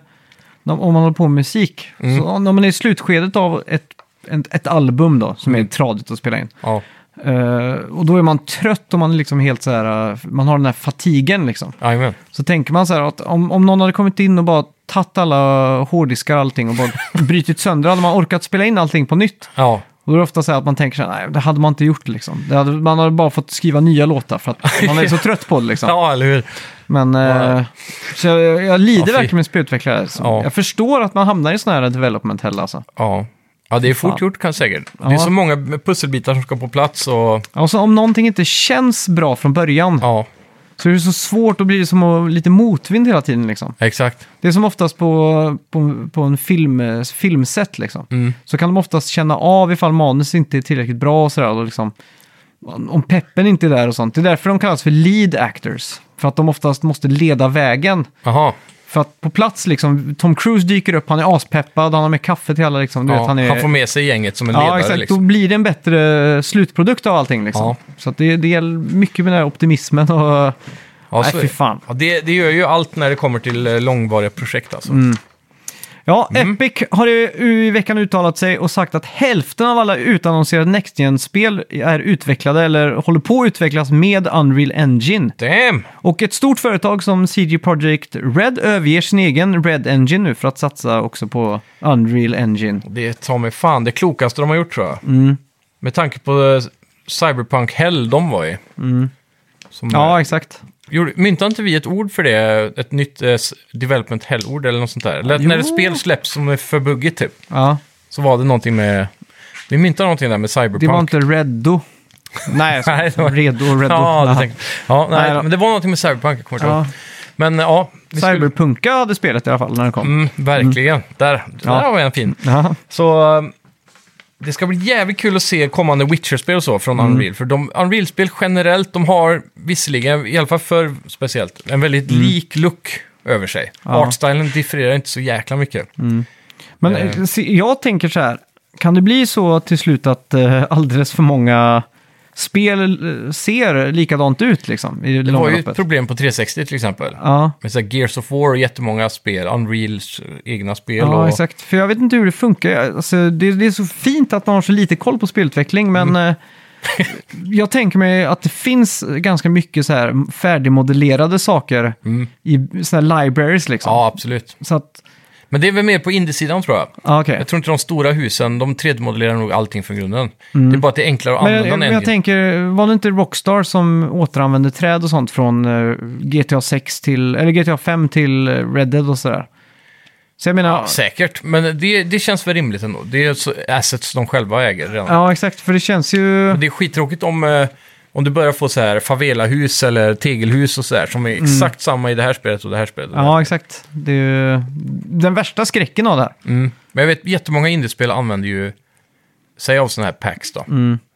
om om man håller på med musik. Så när man är i slutskedet av ett, ett, ett album då, som är tradigt att spela in.
Ja,
Eh, och då är man trött och man är liksom helt så här, eh, man har den här fatigen liksom.
jajamän.
Så tänker man så här att om, om någon hade kommit in och bara tagit alla hårddiskar och allting och bara brytit sönder, hade man orkat spela in allting på nytt.
Ja,
Och då är det ofta så här att man tänker så här, nej det hade man inte gjort liksom. Det hade, man hade bara fått skriva nya låtar för att man är så trött på det liksom.
ja eller hur?
Men eh, så jag, jag lider
Ja, fy.
verkligen med spelutvecklare. Så
Ja.
Jag förstår att man hamnar i sådana här development hell alltså.
Ja. ja, det är
Fan.
fort gjort kan säkert. Det är
Ja.
så många pusselbitar som ska på plats och
Ja, Och så om någonting inte känns bra från början
ja,
så är det så svårt att bli som att- lite motvind hela tiden liksom.
exakt.
Det är som oftast på, på, på en film, eh, filmset liksom.
Mm.
Så kan de oftast känna av ifall manus inte är tillräckligt bra och sådär. Och liksom, om peppen inte är där och sånt. Det är därför de kallas för lead actors. För att de oftast måste leda vägen.
Jaha,
För att på plats liksom, Tom Cruise dyker upp, han är aspeppad, han har med kaffe till alla liksom. Du
ja,
vet, han, är...
får med sig gänget som en
Ja,
ledare
exakt.
liksom.
Då blir det en bättre slutprodukt av allting liksom.
Ja.
Så att det, det gäller mycket med den här optimismen och...
Ja,
Nej,
så är
fy
det.
fan.
Ja, det, det gör ju allt när det kommer till eh, långvariga projekt alltså.
Mm. Ja,
Mm.
Epic har i, i veckan uttalat sig och sagt att hälften av alla utannonserade Next Gen-spel är utvecklade eller håller på att utvecklas med Unreal Engine.
Damn!
Och ett stort företag som CG Projekt Red överger sin egen Red Engine nu för att satsa också på Unreal Engine.
Det tar mig fan det klokaste de har gjort tror jag.
Mm.
Med tanke på eh, Cyberpunk Hell de var i. Som,
Mm.
eh,
Ja, exakt.
gjorde, myntade inte vi ett ord för det? Ett nytt eh, s- development hell-ord eller något sånt där? Eller att när ett
Jo.
spel släpps som är för buggigt typ.
Ja.
Så var det någonting med... Vi myntade någonting där med Cyberpunk.
Det var inte Reddo. Nej, jag
Nej, det
skojar.
var-
Redo och Reddo.
Ja, det
Ja.
tänkte, ja nej,
Nej då.
men det var någonting med Cyberpunk, jag kommer inte
Ja.
ihåg. Men eh, ja, vi skulle-
Cyberpunka hade spelet i alla fall när det kom.
Mm, verkligen. Där, där
Ja.
var en fin.
Ja.
Så eh, det ska bli jävligt kul att se kommande Witcher-spel och så från
Mm.
Unreal. För de, Unreal-spel generellt, de har visserligen, i alla fall för speciellt, en väldigt lik look över sig.
Mm. Ja. Mm,
Artstylen differerar inte så jäkla mycket.
Men
Eh.
eh, se, jag tänker så här, kan det bli så till slut att eh, alldeles för många spel eh, ser likadant ut liksom, i det,
det var
långa
ju ett
loppet?
problem på 360 till exempel.
Ja,
Med så här Gears of War och jättemånga spel, Unreals egna spel.
ja
och,
exakt. För jag vet inte hur det funkar. Alltså, det, det är så fint att man har så lite koll på spelutveckling, men
Mm.
eh, jag tänker mig att det finns ganska mycket så här färdigmodellerade saker i såna här libraries liksom.
Mm. Ja, absolut.
Så att
Men det är väl mer på indiesidan tror jag.
Ja, okej.
Jag tror inte de stora husen, de 3D-modellerar nog allting från grunden. Det är bara att det är enklare att
Mm. Men jag,
använda
men
en
jag
engine.
tänker, var det inte Rockstar som återanvände träd och sånt från eh, GTA 6 till, eller GTA 5 till eh, Red Dead och sådär? Så jag menar, ja,
Säkert, men det, det känns väl rimligt ändå. Det är så assets de själva äger redan.
exakt, för det känns ju...
Men Det är skittråkigt om, eh, om du börjar få så här favelahus eller tegelhus och så där som är exakt samma i det här spelet och det här spelet. och det här.
Ja, exakt. Det är ju den värsta skräcken av det här.
Mm. Men jag vet jättemånga indiespel använder ju sig av sådana här packs då.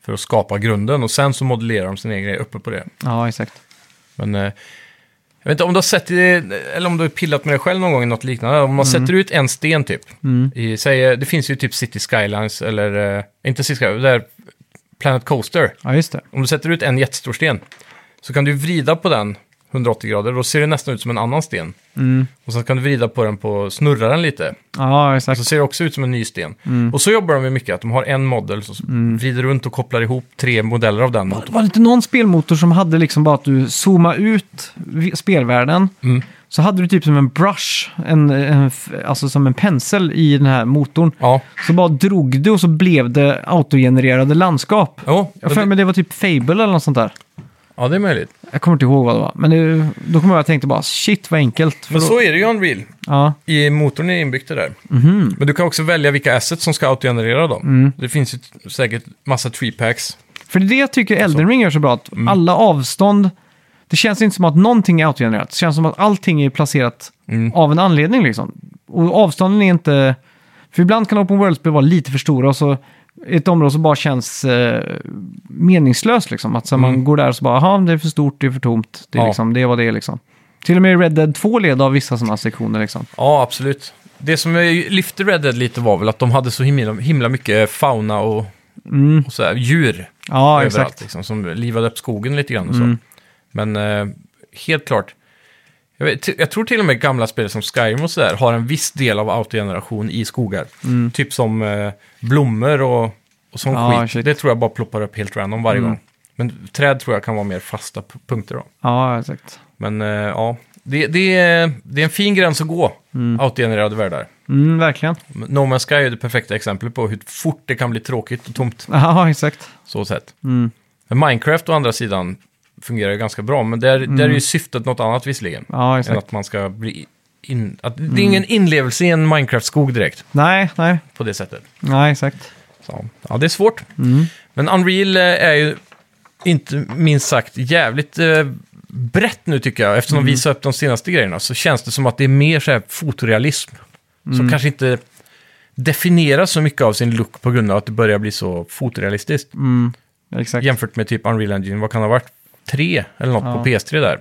För att skapa grunden och sen så modellerar de sina egna grejer uppe på det.
Ja, exakt.
Men eh, jag vet inte om du har sett det, eller om du har pillat med dig själv någon gång i något liknande. Om
Mm.
man sätter ut en sten typ. I, säg, eh, det finns ju typ City Skylines eller, eh, inte City Skylines, där Planet Coaster.
Ja, just det.
Om du sätter ut en jättestor sten så kan du vrida på den 180 grader. Då ser det nästan ut som en annan sten. Och sen kan du vrida på den på snurra den lite.
Ja,
Så
exakt.
ser det också ut som en ny sten.
Mm.
Och så jobbar de med mycket, att de har en modell som vrider runt och kopplar ihop tre modeller av den. mot-
Var det inte någon spelmotor som hade liksom bara att du zooma ut vi- spelvärlden
Mm.
så hade du typ som en brush, en, en, f- alltså som en pensel i den här motorn.
Ja,
Så bara drog du och så blev det autogenererade landskap.
jo,
Jag har för
det,
mig det var typ Fable eller något sånt där.
ja, det är möjligt.
Jag kommer inte ihåg vad det var. Men det, då kommer jag att tänka bara shit vad enkelt. För
Men
då-
så är det ju i Unreal.
ja,
I motorn är inbyggt det där. Men du kan också välja vilka assets som ska autogenerera dem. Det finns ju t- säkert massa tree packs.
För det är det jag tycker
Alltså.
Elden Ring gör så bra. Att
Mm.
alla avstånd, det känns inte som att någonting är autogenerat. Det känns som att allting är placerat
Mm.
av en anledning liksom. Och avstånden är inte... För ibland kan Open World-spel vara lite för stora och så i ett område som bara känns eh, meningslöst liksom. Att så här, man
Mm.
går där och så bara, jaha, det är för stort, det är för tomt. Det är,
Ja.
liksom, det är vad det är liksom. Till och med i Red Dead 2 led av vissa sådana sektioner liksom.
Ja, absolut. Det som eh, lyfte Red Dead lite var väl att de hade så himla, himla mycket fauna och, och så här, djur.
Ja,
överallt,
exakt.
liksom, som livade upp skogen lite grann och så.
Mm.
Men eh, helt klart, jag, vet, jag tror till och med gamla spel som Skyrim och sådär har en viss del av autogeneration i skogar. Typ som eh, blommor och, och sån
Mm. Ja,
skit.
shit. Mm.
Det tror jag bara ploppar upp helt random varje gång. Men träd tror jag kan vara mer fasta p- punkter då.
Ja, exakt.
Men eh, ja, det, det, är, det är en fin gräns att gå, autogenererade världar.
Mm, verkligen.
Men No Man's Sky är det perfekta exemplet på hur fort det kan bli tråkigt och tomt.
Ja, exakt.
Så sett.
Mm.
Men Minecraft å andra sidan fungerar ju ganska bra, men där, där är ju syftet något annat visserligen.
Ja,
än
exakt.
att man ska bli in, att, Det är ingen inlevelse i en Minecraft-skog direkt
Nej, nej,
på det sättet.
nej, exakt. Mm.
Så, ja, det är svårt. Men Unreal eh, är ju inte minst sagt jävligt eh, brett nu tycker jag. Eftersom de visar upp de senaste grejerna så känns det som att det är mer så här fotorealism. Som kanske inte definierar så mycket av sin look på grund av att det börjar bli så fotorealistiskt.
Mm, exakt.
Jämfört med typ Unreal Engine, vad kan det ha varit? Tre eller något på PS3 där.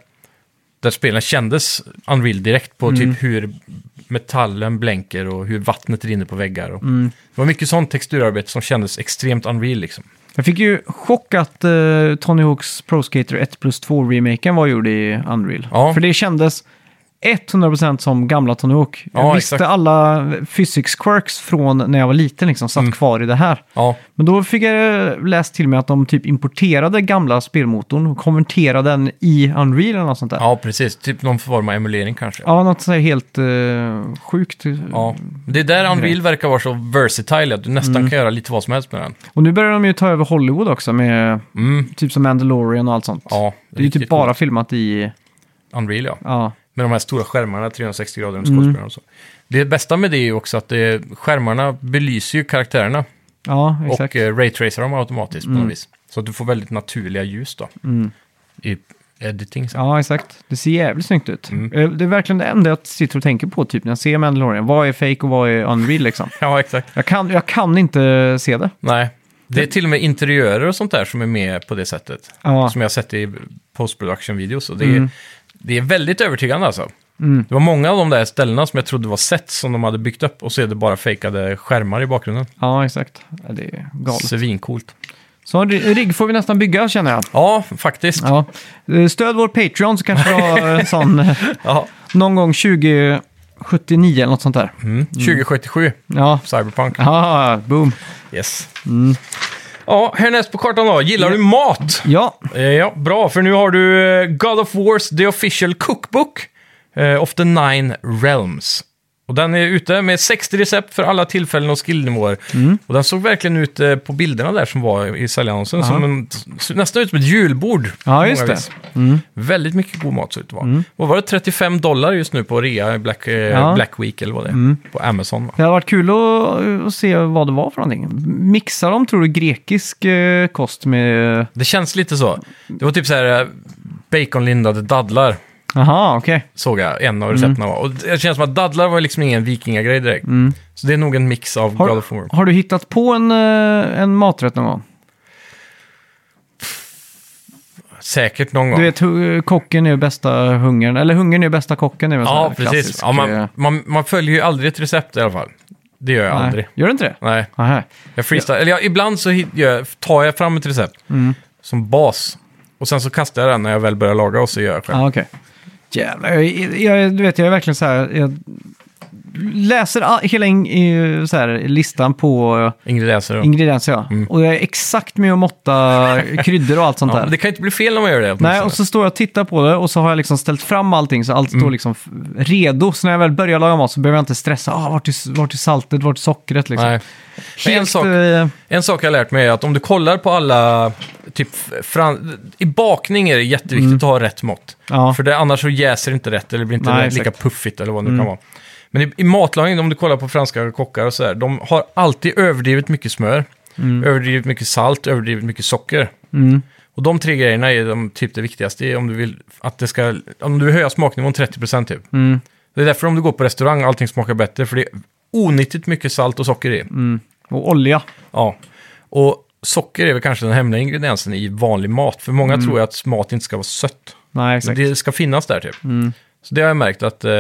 Där spelen kändes Unreal direkt
Mm.
på typ hur metallen blänker och hur vattnet rinner på väggar. Och
Mm.
Det var mycket sånt texturarbete som kändes extremt Unreal liksom.
Jag fick ju chock att eh, Tony Hawks Pro Skater 1 plus 2-remaken var gjord i Unreal.
Ja.
För det kändes 100% som gamla Tony Hawk. Jag
Ja,
visste
exakt.
alla physics quirks från när jag var liten, liksom,
Mm.
satt kvar i det här.
Ja,
Men då fick jag läst till mig att de typ importerade gamla spelmotorn och konverterade den i Unreal eller något sånt där.
ja precis. Typ någon form av emulering kanske.
Ja, något så här helt eh, sjukt.
Ja. Det är där Unreal verkar vara så versatile, att du nästan
Mm.
kan göra lite vad som helst med den.
Och nu börjar de ju ta över Hollywood också med
Mm.
typ som Mandalorian och allt sånt.
Ja,
det är ju typ
riktigt
bara filmat i...
Unreal ja.
Ja,
Med de här stora skärmarna, 360 grader runt skådespelarna
Mm.
och så. Det bästa med det är ju också att det, skärmarna belyser ju karaktärerna.
ja exakt. Mm.
Och eh, raytracer dem automatiskt på något vis. Så att du får väldigt naturliga ljus då. I editing. Så.
Ja, exakt. Det ser jävligt snyggt ut.
Mm.
Eh, Det är verkligen det enda jag sitter och tänker på typ när jag ser Mandalorian. Vad är fake och vad är unreal liksom?
Ja, exakt.
Jag kan, jag kan inte se det.
Nej. Det är till och med interiörer och sånt där som är med på det sättet.
Ja. Mm.
Som jag har sett i post-production-videos. Och det, är, det är väldigt övertygande alltså. Det var många av de där ställena som jag trodde var set som de hade byggt upp. Och så är det bara fejkade skärmar i bakgrunden.
Ja, exakt. Ja, det är galet.
Svincoolt.
Så en ri- rigg får vi nästan bygga känner jag.
Ja, faktiskt.
Ja. Eh, Stöd vår Patreon så kanske vi har en sån eh,
Ja.
någon gång 2079 eller något sånt där.
Mm. 2077,
Ja,
Cyberpunk.
ja boom.
Yes.
Mm.
Ja, härnäst på kartan då. Gillar du mat?
Ja,
Eh, Ja, bra, för nu har du eh, God of Wars The Official Cookbook eh, of the Nine Realms. Och den är ute med 60 recept för alla tillfällen och skillnivåer.
Mm.
Och den såg verkligen ut eh, på bilderna där som var i säljannonsen, som en, s- nästan ut som ett julbord.
Ja, just
Många
det. Mm.
vis. Väldigt mycket god mat såg det ut att vara. Vad var det, 35 dollar just nu på rea i Black, eh, Black Week eller vad det är,
Mm.
på Amazon va?
Det hade varit kul att, att se vad det var för någonting. Mixar de, tror du, grekisk eh, kost med... eh,
Det känns lite så. Det var typ så här eh, baconlindade dadlar.
Aha, okej.
såg jag en av
Mm.
recepten var. Och det känns som att dadlar var liksom ingen vikingagrej direkt. Så det är nog en mix av God of
Har,
War.
har du hittat på en, eh, en maträtt någon gång?
Säkert någon gång.
Du vet, hu- kocken är ju bästa hungern. Eller hungern är bästa kocken. Är väl en sån
ja,
här
precis.
klassisk,
Ja,
eh,
man, man, man följer ju aldrig ett recept i alla fall. Det gör jag
nej.
aldrig.
Gör du inte det?
Nej,
Aha.
jag freestyle. Eller jag, ibland så hit- gör, jag- tar jag fram ett recept
Mm.
som bas. Och sen så kastar jag den när jag väl börjar laga och så gör jag själv.
Ja, okej. Jävlar, jag, jag, du vet, jag är verkligen så här... Jag läser all, hela in, i- så här, listan på eh,
Ingredienser och...
ingredienser, ja. Och jag är exakt med att måtta kryddor och allt sånt
Mm. Ja,
där.
men det kan ju inte bli fel när man gör det.
Nej,
åtminstone.
och så står jag och tittar på det och så har jag liksom ställt fram allting så allt
Mm.
står liksom f- redo. Så när jag väl börjar laga mat så behöver jag inte stressa. Ah, vart, är, vart är saltet? Vart är sockret? Liksom.
Nej. Men en sak-
eh,
En sak jag har lärt mig är att om du kollar på alla, typ, fran- i bakning är det jätteviktigt att ha rätt mått.
Mm. Ja.
För det, annars så jäser inte rätt eller blir inte
Nej,
rätt lika
exakt. Mm.
puffigt eller vad det nu kan vara. Men i, i matlagning, om du kollar på franska kockar och sådär, de har alltid överdrivet mycket smör,
Mm.
överdrivet mycket salt, överdrivet mycket socker. Och de tre grejerna är de, typ det viktigaste är om du vill att det ska, om du vill höja smaknivån 30% typ.
Mm.
Det är därför om du går på restaurang allting smakar bättre, för det är onyttigt mycket salt och socker i.
och olja.
Ja, och socker är väl kanske den hemliga ingrediensen i vanlig mat. För många tror ju att mat inte ska vara sött.
Nej,
Men
Mm. exakt. Mm.
det ska finnas där typ. Så det har jag märkt att eh,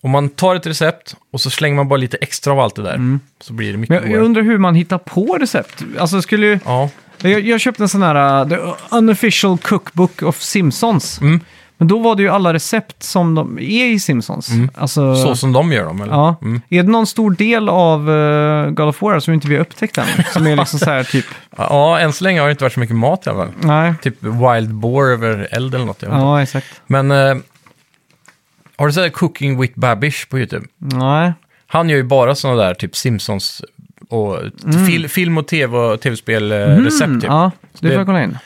om man tar ett recept och så slänger man bara lite extra av allt det där. Så blir det
Mm. Men
mycket
jag,
godare.
jag undrar hur man hittar på recept. Alltså, skulle ju,
Ja,
jag, jag köpte en sån här uh, The Unofficial Cookbook of Simpsons.
Mm.
Men då var det ju alla recept som de är i Simpsons. Alltså,
så som de gör dem eller?
Ja.
Mm.
Är det någon stor del av uh, God of War som inte vi har upptäckt än? Som är liksom så här typ...
ja, än så länge har det inte varit så mycket mat i alla fall.
Nej.
Typ wild boar över eld eller något. Jag vet inte.
Ja, exakt.
Men eh, har du sett Cooking with Babish på YouTube?
Nej.
Han gör ju bara sådana där typ Simpsons och fil, film och tv och tv-spel eh, recept typ. Ja.
Mm. Ja, det får
Det-
jag kolla in.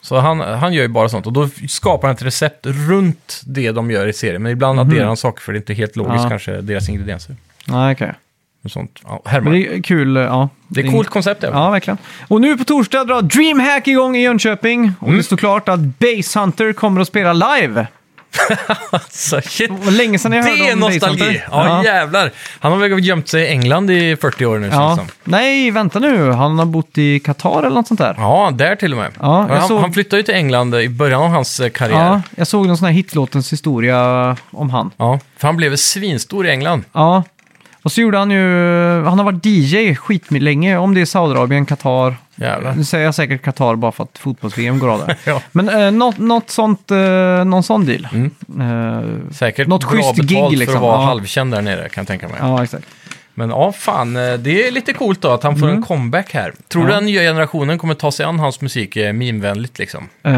så han, han gör ju bara sånt och då skapar han ett recept runt det de gör i serien. Men ibland adderar han saker för det är inte helt logiskt
Mhm. Ja.
kanske, deras ingredienser.
Nej, okej.
Och sånt. Ja,
Men
härmar. Det,
Det är kul. Ja.
är ett coolt koncept även.
Ja, verkligen. Och nu på torsdag drar DreamHack igång i Jönköping. Och
Mm.
det står klart att Base Hunter kommer att spela live.
Alltså, shit.
Och länge sedan jag hörde
Det är
om Base
nostalgi!
Hunter.
Ja, jävlar. Han har väl gömt sig i England i 40 år nu känns
Ja.
det som.
Nej, vänta nu. Han har bott i Qatar eller något sånt där.
Ja, där till och med.
Ja, jag
han,
såg-
han flyttade ju till England i början av hans eh, karriär.
Ja, jag såg någon sån här hitlåtens historia om han.
Ja, för han blev svinstor i England.
Ja. Och så gjorde han ju... Han har varit DJ skitlänge. Om det är Saudiarabien, Qatar.
Jävlar.
Nu säger jag säkert Qatar bara för att fotbolls-VM går av där.
Ja. Mm.
Men eh, något, något sånt, eh, någon sån deal. Eh,
Säkert
Något
bra
schysst
betalt
gig,
för
liksom.
att vara
Ja.
halvkänd där nere kan jag tänka mig.
ja, exakt.
Men ja, fan, eh, det är lite coolt då att han får en comeback här. Tror du
Mm. Ja.
den nya generationen kommer ta sig an hans musik eh, meme-vänligt liksom?
Eh,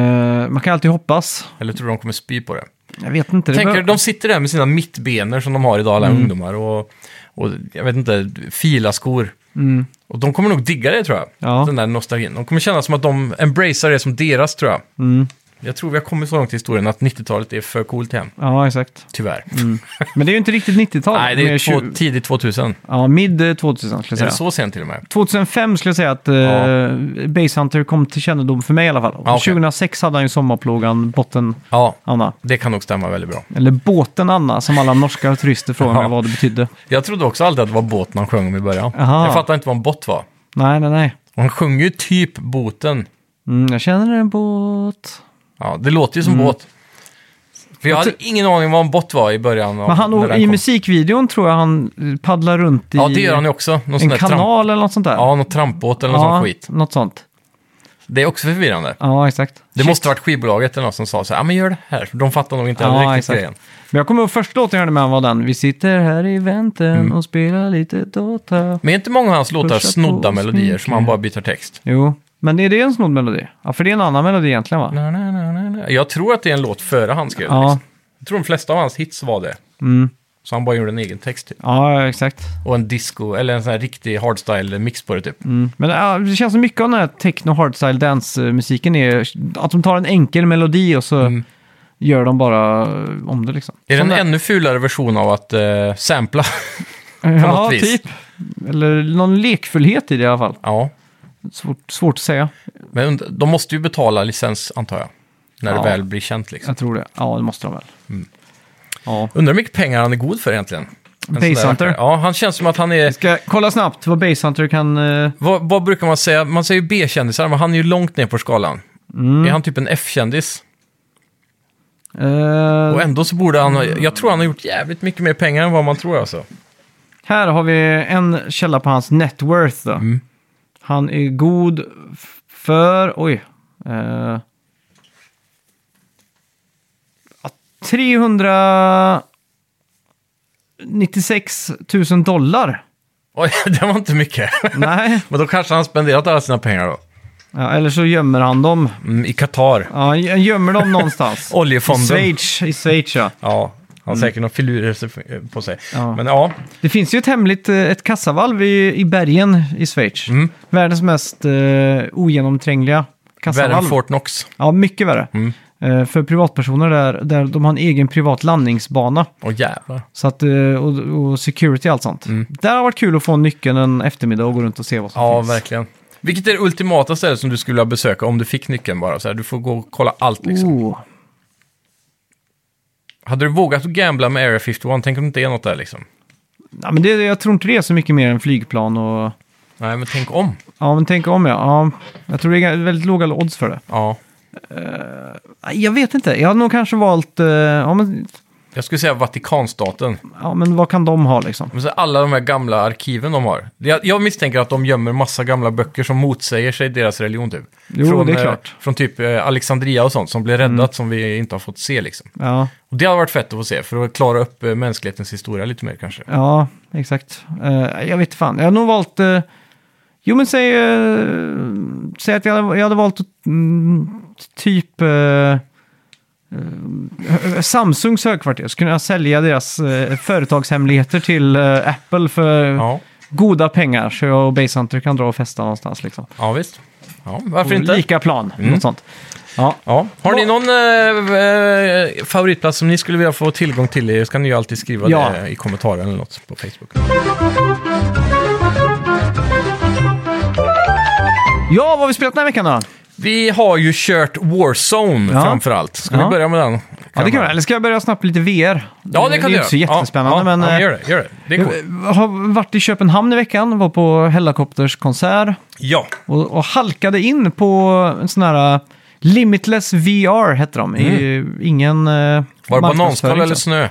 man kan alltid hoppas.
Eller tror du de kommer spy på det?
Jag vet inte. Det
Tänker du,
bör- Mm.
de sitter där med sina mittbenor som de har idag, alla ungdomar, och, och jag vet inte, filaskor. Och de kommer nog digga det tror jag,
Mm. Ja.
den där nostalgin. De kommer känna som att de embracear det som deras tror jag.
Mm.
Jag tror vi har kommit så långt i historien att 90-talet är för coolt igen,
Ja, exakt.
tyvärr.
Men det är ju inte riktigt 90-tal.
Nej, det
Mer
är två,
Mm. tju-
tidigt 2000.
Ja, mid eh, 2000 skulle
Är
jag
det
säga.
så sent till och med?
2005 skulle jag säga att eh, Base Hunter kom till kännedom för mig i alla fall. Och
Ja, okej.
2006 hade han ju sommarplågan Botten-Anna.
Ja, det kan nog stämma väldigt bra.
Eller Båten-Anna, som alla norska turister frågar
Ja.
mig vad det betydde.
Jag trodde också alltid att det var båt man sjöng om i början.
Aha.
Jag fattar inte vad en båt var.
Nej, nej, nej.
Och han sjunger ju typ boten.
Mm, jag känner en båt.
Ja, det låter ju som
Mm.
båt. För jag hade ingen aning om vad en båt var i början. av-
Men han,
när den
i
kom.
musikvideon tror jag han eh, paddlar runt i
Ja, det gör han ju också. Någon sån
en
där
kanal
Tramp...
eller något sånt där.
Ja, någon trampbåt eller någon
Ja,
sån skit.
Något sånt.
Det är också förvirrande.
Ja, exakt.
Det måste varit skivbolaget eller något som sa så här, ja men gör det här. För De fattar nog inte
Ja,
heller riktigt
exakt.
grejen.
Men jag kommer ihåg första låten jag hörde med honom var den. Vi sitter här i väntan
Mm.
och spelar lite Dota.
Men är inte många av hans låtar
Pusha på
snodda
och
melodier som
skrika.
han bara byter text?
Jo, men är det en snodd melodi? Ja, för det är en annan melodi egentligen va?
Na, na, na, na, na. Jag tror att det är en låt före han skrev det,
Ja. mm.
liksom. Jag tror de flesta av hans hits var det. Så han bara gjorde en egen text typ.
Ja, exakt.
Och en disco, eller en sån här riktig hardstyle-mix på det typ.
Mm. Men ja, det känns som mycket av den här techno hardstyle dance-musiken är att de tar en enkel melodi och så
Mm.
gör de bara eh, om det liksom.
Är det en
Som
ännu fulare version av att eh, sampla?
Ja,
något vis?
typ. Eller någon lekfullhet i det i alla fall.
ja,
Svårt, svårt att säga.
men und- de måste ju betala licens antar jag. När
Ja.
det väl blir känt liksom.
Jag tror det. Ja, det måste de väl.
Mm.
Ja.
Undrar hur mycket pengar han är god för egentligen. En sån där
Basehunter.
rackare. Ja, han känns som att han är...
Ska jag kolla snabbt vad Basehunter kan... eh,
Vad, vad brukar man säga? Man säger ju B-kändisar, men han är ju långt ner på skalan.
Mm.
Är han typ en F-kändis?
eh,
Och ändå så borde han ha, Jag tror han har gjort jävligt mycket mer pengar än vad man tror alltså.
Här har vi en källa på hans net worth. Då.
Mm.
Han är god f- för... Oj. Eh, ja, 396 000 dollar.
Oj, det var inte mycket.
Nej,
men då kanske han har spenderat alla sina pengar då.
ja, eller så gömmer han dem.
Mm, I Qatar.
Ja, han gö- gömmer dem någonstans. I
Oljefonden.
Schweiz, I Schweiz, ja.
Ja, han har säkert några filurer på sig.
Ja.
Men ja,
Det finns ju ett hemligt eh, ett kassavalv i, i bergen i Schweiz.
Mm.
Världens mest eh, ogenomträngliga
värre än
kassavalv.
Fort Knox.
Ja, mycket värre.
Mm.
Eh, för privatpersoner där, där de har en egen privat landningsbana.
Åh jävlar.
Så att, eh, och, och security och allt sånt.
Mm.
Där har det varit kul att få nyckeln en eftermiddag och gå runt och se vad som
Ja,
finns.
verkligen. Vilket är det ultimata stället som du skulle vilja besöka om du fick nyckeln bara? Så här, du får gå och kolla allt liksom.
Oh.
Hade du vågat att gambla med Area 51? Tänk om det inte är något där liksom.
Ja, men det, jag tror inte det är så mycket mer än flygplan och...
Nej, men tänk om.
Ja, men tänk om ja. ja jag tror det är väldigt låga odds för det.
Ja.
Nej, Jag vet inte. Jag hade nog kanske valt... eh, Ja, men,
Jag skulle säga Vatikanstaten.
ja, men vad kan de ha liksom?
Men så alla de här gamla arkiven de har. Jag, jag misstänker att de gömmer massa gamla böcker som motsäger sig deras religion typ.
Jo, det är
eh,
klart. Mm.
Från typ eh, Alexandria och sånt som blev räddat som vi inte har fått se liksom.
Ja,
Och det har varit fett att få se för att klara upp eh, mänsklighetens historia lite mer kanske.
ja exakt. Eh, jag vet fan. Jag hade nog valt... eh, jo, men säg, eh, säg att jag, hade- jag hade valt att, mm, typ... eh, eh, Samsungs högkvarter, så kunde jag sälja deras eh, företagshemligheter till eh, Apple för
Ja,
goda pengar. Så jag och Basehunter kan dra och festa någonstans liksom.
ja visst. Ja, varför
På
inte?
Lika plan,
Mm.
något sånt. Ja,
Ja. Har ni någon eh, eh, favoritplats som ni skulle vilja få tillgång till? Så kan ni ju alltid skriva
Ja.
det i kommentaren eller något på Facebook.
ja vad har vi spelat den här veckan då?
Vi har ju kört Warzone
Ja.
framför allt. Ska
Ja.
vi börja med den?
Ja, det kan vi. Eller ska jag börja snabbt lite VR?
Ja, det kan
är
du
ju
göra.
inte så jättespännande,
ja,
men...
Ja, men
eh,
gör det, gör det. Det är coolt.
jag har varit i Köpenhamn i veckan, var på Hellacopters konsert
Ja,
och, och halkade in på en sån här eh, Limitless VR hette de. I, ingen eh, Var
Mm. var det bananskal eller snö?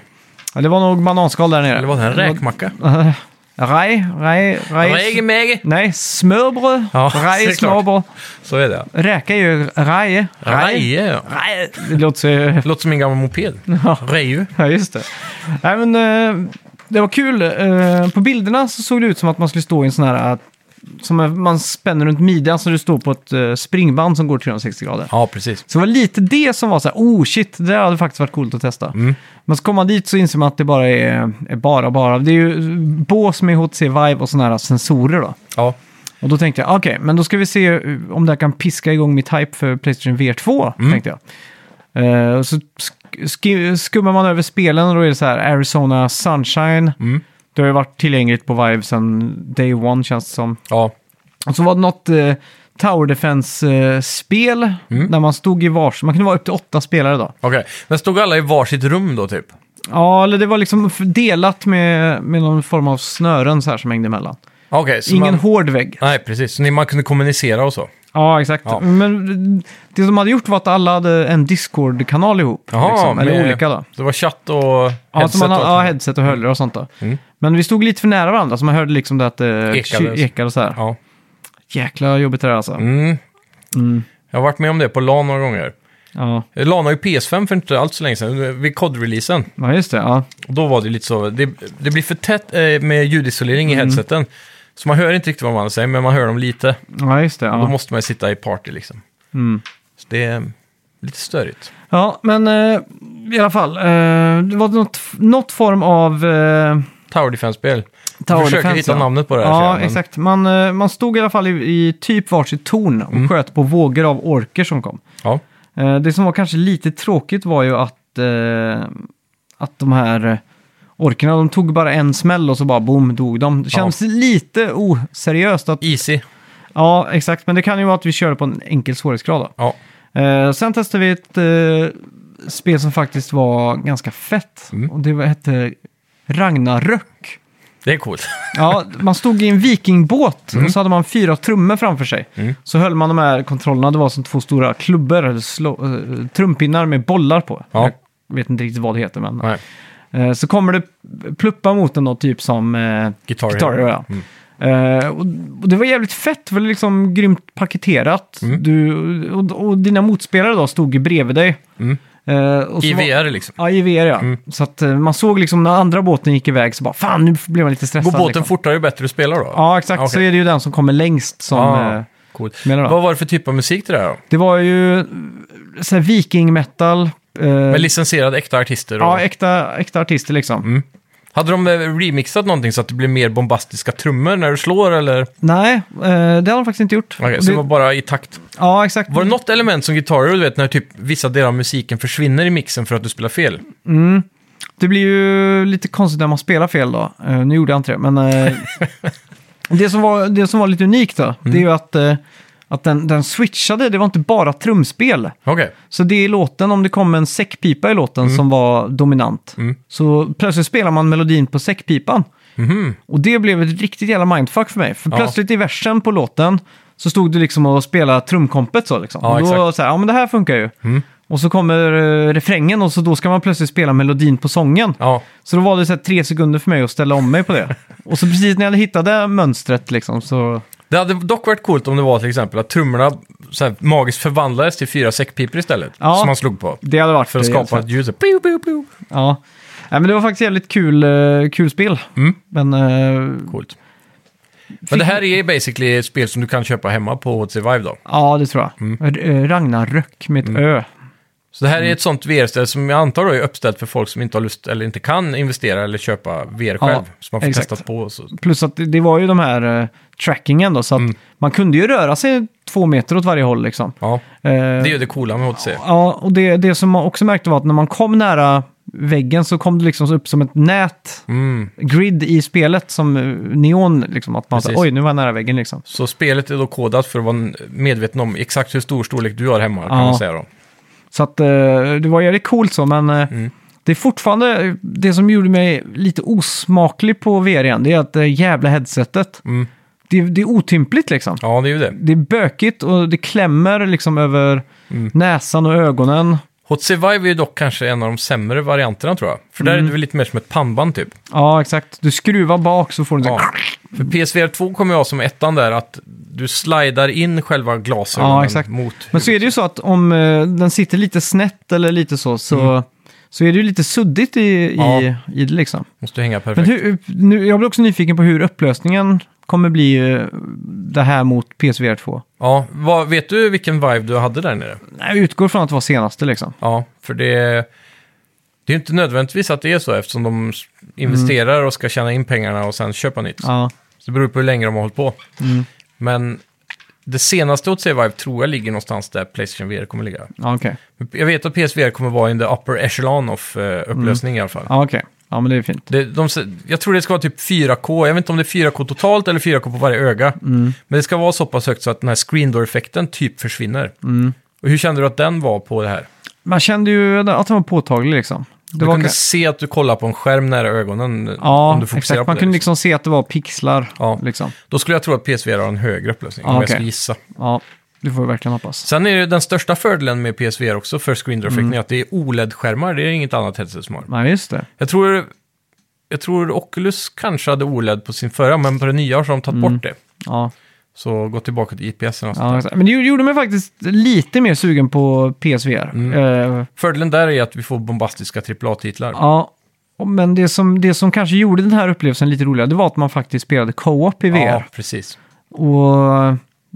Ja, det var nog bananskal där nere.
Eller var det en räkmacka?
Rej, rej, rej.
Rägemäge!
Nej, smörbröd.
Ja, det är
rej,
klart.
smörbröd.
Så är det.
Räka är ju rej.
Raje, ja.
Rej. Det låter så
Låter som min gamla moped. Reju.
Ja, just det. Nej, men, eh, det var kul. Eh, på bilderna så såg det ut som att man skulle stå i en sån här... eh, Som en- man spänner runt midjan så du står på ett eh, springband som går 360 grader.
Ja, precis.
Så det var lite det som var så här, oh shit, det där hade faktiskt varit coolt att testa. Men så kom man dit så inser man att det bara är, är bara, bara. Det är ju bås med HTC Vive och sådana här sensorer då.
Ja.
Och då tänkte jag, okej, men då ska vi se eh, om det här kan piska igång mitt hype för Playstation VR 2, tänkte jag. Eh, och så sk- sk- skummar man över spelen och då är det så här Arizona Sunshine. Det har ju varit tillgängligt på Vive sedan Day One känns det som.
ja.
Och så var det något eh, Tower Defense-spel där man stod i vars... Man kunde vara upp till åtta spelare då.
Okej. Men stod alla i varsitt rum då, typ?
Ja, eller det var liksom delat med, med någon form av snören så här som hängde emellan.
Okej, så
Ingen
man...
hård vägg.
Nej, precis. Så ni- man kunde kommunicera och så.
Ja, exakt.
Ja.
Men det de hade gjort var att alla hade en Discord-kanal ihop.
Jaha,
liksom, eller
med-
olika då.
Det var chatt och
Ja, så man
och
hade, ja,
allt.
headset och hörlurar och sånt då.
Mm.
Men vi stod lite för nära varandra, så man hörde liksom det att det
Ekade.
ekade och så här.
ja.
Jäkla jobbigt det där alltså.
Mm. Jag har varit med om det på LAN några gånger.
Ja.
LAN har ju PS5 för inte alls så länge sedan, vid COD-releasen.
ja, just det. Ja.
Och då var det lite så, det, det blir för tätt eh, med ljudisolering
Mm.
i headseten. Så man hör inte riktigt vad man säger, men man hör dem lite.
ja, just det.
Då
Ja.
måste man ju sitta i party liksom.
Mm.
Så det är Lite störigt.
Ja, men eh, i alla fall. Eh, det var något, något form av... Eh,
Tower Defense-spel.
Tower
försöker
defense,
hitta
ja.
namnet på det här, ser
Ja,
jag, men-
exakt. Man, eh, man stod i alla fall i, i typ varsitt torn och
Mm.
sköt på vågor av orker som kom.
Ja.
Eh, det som var kanske lite tråkigt var ju att, eh, att de här eh, orkerna, de tog bara en smäll och så bara boom, dog de. Det känns lite oseriöst att...
Easy.
Ja, exakt. Men det kan ju vara att vi körde på en enkel svårighetsgrad då.
Ja.
Eh, sen testade vi ett eh, spel som faktiskt var ganska fett.
Mm.
Och det var- hette Ragnarök.
Det är coolt.
Ja, man stod i en vikingbåt
Mm.
och så hade man fyra trummor framför sig. Så höll man de här kontrollerna, det var som två stora klubbor eller slå, eh, trumpinnar med bollar på.
Ja.
Jag vet inte riktigt vad det heter, men...
Nej.
Eh, så kommer det pluppa mot den då, typ som... Eh,
Guitar Mm. Hero.
Guitar Hero, ja. Eh, och, och det var jävligt fett, för det var liksom grymt paketerat.
Mm.
Du, och, och dina motspelare då stod ju bredvid dig.
Mm.
Eh, och så
I
var-
VR liksom.
Ja, i VR ja. Så att eh, man såg liksom när andra båten gick iväg så bara fan, nu blev man lite stressad.
Går båten
liksom.
fortare ju bättre du spelar då?
Ja, exakt.
Okej.
Så är det ju den som kommer längst som...
Ah,
eh,
coolt.
menar du?
Vad var det för typ av musik det där då?
Det var ju eh, så här viking metal. eh,
Med licensierade äkta artister? Och...
ja, äkta, äkta artister liksom.
Mm. Hade de eh, remixat någonting så att det blir mer bombastiska trummor när du slår eller? Okej,
Nej, eh, det har de faktiskt inte gjort. Och
så
det,
det var bara i takt.
Ja, exakt.
Var det något element som gitarrer, du vet när typ vissa delar av musiken försvinner i mixen för att du spelar fel?
Mm. Det blir ju lite konstigt när man spelar fel då. Eh, nu gjorde jag inte det, men... eh, det, som var, det som var lite unikt då,
Mm.
det är ju att, eh, att den, den switchade. Det var inte bara trumspel.
Okej,
Så det i låten, om det kom en säckpipa i låten
Mm.
som var dominant, så plötsligt spelar man melodin på säckpipan.
Mhm,
Och det blev ett riktigt jävla mindfuck för mig. För
Ja.
plötsligt i versen på låten så stod det liksom och spela trumkompet så liksom.
Ja,
och då
exakt. Mm.
så här, ja men det här funkar ju. Och så kommer eh, refrängen och så då ska man plötsligt spela melodin på sången.
ja.
Så då var det så här tre sekunder för mig att ställa om mig på det. och så precis när jag hittade mönstret liksom så...
Det hade dock varit coolt om det var till exempel att trummorna så här, magiskt förvandlades till fyra säckpipor istället.
Ja.
Som man slog på.
Det hade varit
För att
det, alltså.
skapa ett ljud. så här, Pew, pew, pew.
Ja. Nej, men det var faktiskt jävligt kul, eh, kul spel.
Mm.
Men eh,
Coolt. Men det här är basically ett spel som du kan köpa hemma på HTC Vive då.
ja, det tror jag. Mm. Ragnarök med ett
Mm.
Ö.
Så det
Mm.
här är ett sånt VR-ställ som jag antar då är uppställt för folk som inte har lust eller inte kan investera eller köpa VR själv. så man får
exakt.
testa på. och Så.
Plus att det, det var ju de här eh, trackingen då,
Mm.
så att man kunde ju röra sig två meter åt varje håll liksom.
Ja,
Eh,
det är ju det coola med HTC.
Ja, och det, det som man också märkte var att när man kom nära väggen så kom det liksom upp som ett nät,
Mm.
grid i spelet som eh, neon, liksom. Att man sa,
Precis.
oj, nu var jag nära väggen liksom.
Så spelet är då kodat för att vara medveten om exakt hur stor storlek du har hemma, kan
Ja.
man säga då.
Så att eh, det var jävligt coolt så, men eh,
Mm.
det är fortfarande eh, det som gjorde mig lite osmaklig på VR igen, det är att det jävla headsetet,
Mm.
det, det är otympligt liksom.
Ja, det är ju det.
Det är bökigt och det klämmer liksom över
Mm.
näsan och ögonen.
HTC Vive är ju dock kanske en av de sämre varianterna tror jag. För
Mm.
där är det väl lite mer som ett pannband typ.
Ja, exakt. Du skruvar bak så får du...
Ja.
Ja,
För PSVR 2 kommer jag som ettan där att du slidar in själva glasögonen
ja exakt.
mot...
Men så är det ju så att om eh, den sitter lite snett eller lite så, så, så är det ju lite suddigt i, i,
Mm. Ja.
i det liksom.
Måste hänga perfekt.
Men hur, nu, jag blir också nyfiken på hur upplösningen kommer bli eh, det här mot PSVR 2.
Ja, vad, vet du vilken vibe du hade där nere?
Jag utgår från att det var senaste liksom.
Ja, för det... Det är ju inte nödvändigtvis att det är så eftersom de s- investerar och ska tjäna in pengarna och sen köpa nytt.
Ja, Mm.
Så det beror på hur länge de har hållit på. Men det senaste åt sig Vive tror jag ligger någonstans där Playstation VR kommer ligga.
ja okej.
Jag vet att PSVR kommer vara in the upper echelon of eh, upplösning
Mm.
i alla fall.
Ja, okej. Ja, men det är fint.
Det, de, s- jag tror det ska vara typ 4K, jag vet inte om det är 4K totalt eller 4K på varje öga.
Mm,
Men det ska vara så pass högt så att den här screen door-effekten typ försvinner. Och hur kände du att den var på det här?
mm. Man kände ju att den var påtaglig liksom. Det
Du
var
kunde
ka-
se att du kollar på en skärm nära ögonen
Ja,
om du fokuserar
exakt.
på
Man
det.
kunde
liksom.
liksom se att det var pixlar.
Ja.
Liksom.
Då skulle jag tro att PSVR har en högre upplösning,
Ja,
om jag
okej.
skulle gissa.
ja, det får vi verkligen hoppas.
Sen är det den största fördelen med PSVR också för screen door
Mm.
effekten är att det är OLED-skärmar, det är inget annat headset som har.
Nej, just det.
Jag tror, jag tror Oculus kanske hade OLED på sin förra, men på den nya har de tagit
Mm.
bort det.
Ja.
Så gå tillbaka till IPS. eller något sånt där.
Ja, exakt. men det gjorde mig faktiskt lite mer sugen på PSVR.
Mm.
Eh,
Fördelen där är att vi får bombastiska AAA-titlar.
ja, Och- men det som, det som kanske gjorde den här upplevelsen lite roligare, det var att man faktiskt spelade co-op i VR.
Ja, precis.
Och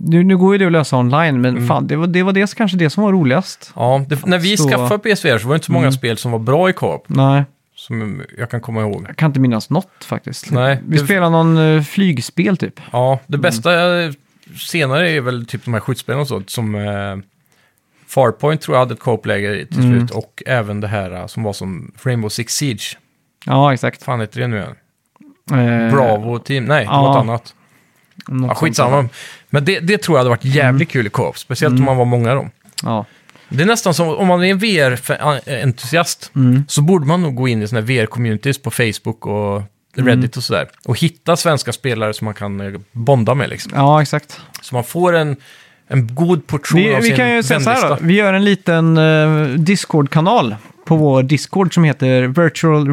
Nu, nu går ju det att lösa online,
Mm.
men fan, det var, det var det, kanske det som var roligast.
Ja, det, när vi
Så- Mm.
skaffade E PSVR så var det inte så många spel som var bra i co-op,
Nej,
som jag kan komma ihåg.
jag kan inte minnas något faktiskt.
Nej,
Vi
det-
spelade någon eh, flygspel typ.
Ja, det bästa eh, senare är väl typ de här skjutspelen och sånt, som eh, Farpoint tror jag hade ett co-op-läge i till
Mm.
slut, och även det här eh, som var som Rainbow Six Siege.
Ja, exakt.
fan heter det nu igen?
Eh,
Bravo Team, nej,
ja.
något annat.
något
Ja,
sånt. Mm.
skitsamma. Men det, det tror jag hade varit jävligt kul i co-op, speciellt om man var många då.
Ja.
Det är nästan som, om man är en VR-entusiast,
Mm.
så borde man nog gå in i såna här VR-communities på Facebook och
Mm.
Reddit och sådär. Och hitta svenska spelare som man kan eh, bonda med liksom.
ja, exakt.
Så man får en, en god portion
Vi,
av
vi
sin
kan ju säga så här då.
vänlista.
Vi gör en liten eh, Discord-kanal på vår Discord som heter Virtual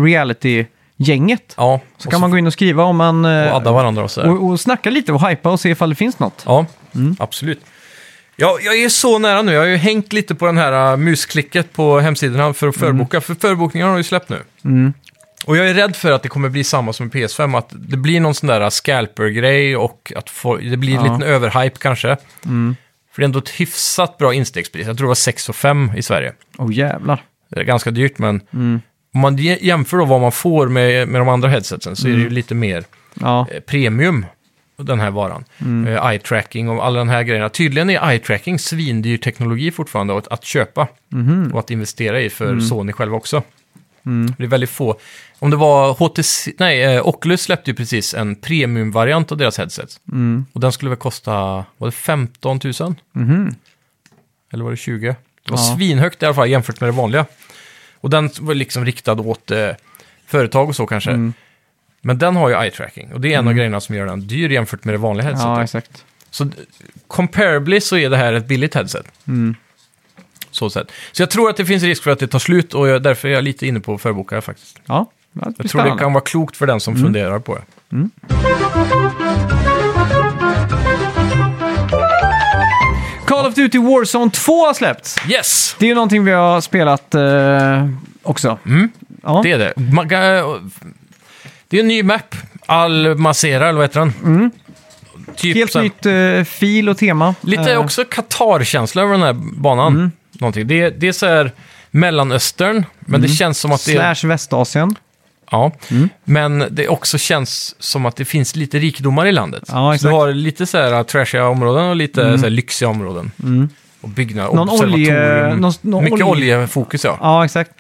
Reality-gänget.
Ja,
Så kan man gå in och skriva om man... eh,
och adda varandra och sådär.
och, och snacka lite och hypa och se ifall det finns något.
Ja, absolut. Ja, jag är så nära nu. Jag har ju hängt lite på den här uh, musklicket på hemsidorna för att förboka. För förbokningarna har ju släppt nu. Och jag är rädd för att det kommer bli samma som med PS5. Att det blir någon sån där uh, scalper-grej och att få, det blir en
Ja.
liten överhype kanske. För det är ändå ett hyfsat bra instegspris. Jag tror det var 6 5 i Sverige.
Åh jävlar.
Det är ganska dyrt, men om man je- jämför då vad man får med, med de andra headsetsen så är det ju lite mer
Ja,
eh, premium, den här varan. Eh, Eye-tracking och alla de här grejerna. Tydligen är eye-tracking svindyr teknologi fortfarande att, att köpa och att investera i för Sony själva också. Det är väldigt få. Om det var HTC, nej, eh, Oculus släppte ju precis en premiumvariant av deras headset. Och den skulle väl kosta, var det 15 000? Eller var det 20? Det var
Ja.
svinhögt i alla fall jämfört med det vanliga. Och den var liksom riktad åt eh, företag och så kanske.
Mm.
Men den har ju eye tracking och det är en av grejerna som gör den dyr jämfört med det vanliga
ja
headsetet.
exakt.
så d- comparably så är det här ett billigt headset.
Mm.
Så, sätt. så jag tror att det finns risk för att det tar slut och jag, därför är jag lite inne på att förboka faktiskt.
Ja, det blir
Jag tror det
spännande. Mm.
kan vara klokt för den som funderar på det.
Call of Duty Warzone 2 har släppts.
Yes!
Det är ju någonting vi har spelat eh, också.
Mm.
Ja.
Det är det. Man kan, det är en ny map. Al-Masera, eller vad heter den? Typ
Mm. Helt
så här-
nytt eh, fil och tema.
Lite
Eh,
också Qatar-känsla över den här banan.
Mm.
Någonting. Det, det är så här Mellanöstern, men det känns som att det är...
Mm. Slash Mm. Västasien.
Ja, men det också känns som att det finns lite rikedomar i landet.
Ja,
så
exakt. Mm.
du har lite så här trashiga områden och lite så här lyxiga områden. Och byggnader,
Någon
observatorium.
olje- någon- någon
Mycket
olje-
oljefokus, ja.
Ja, exakt.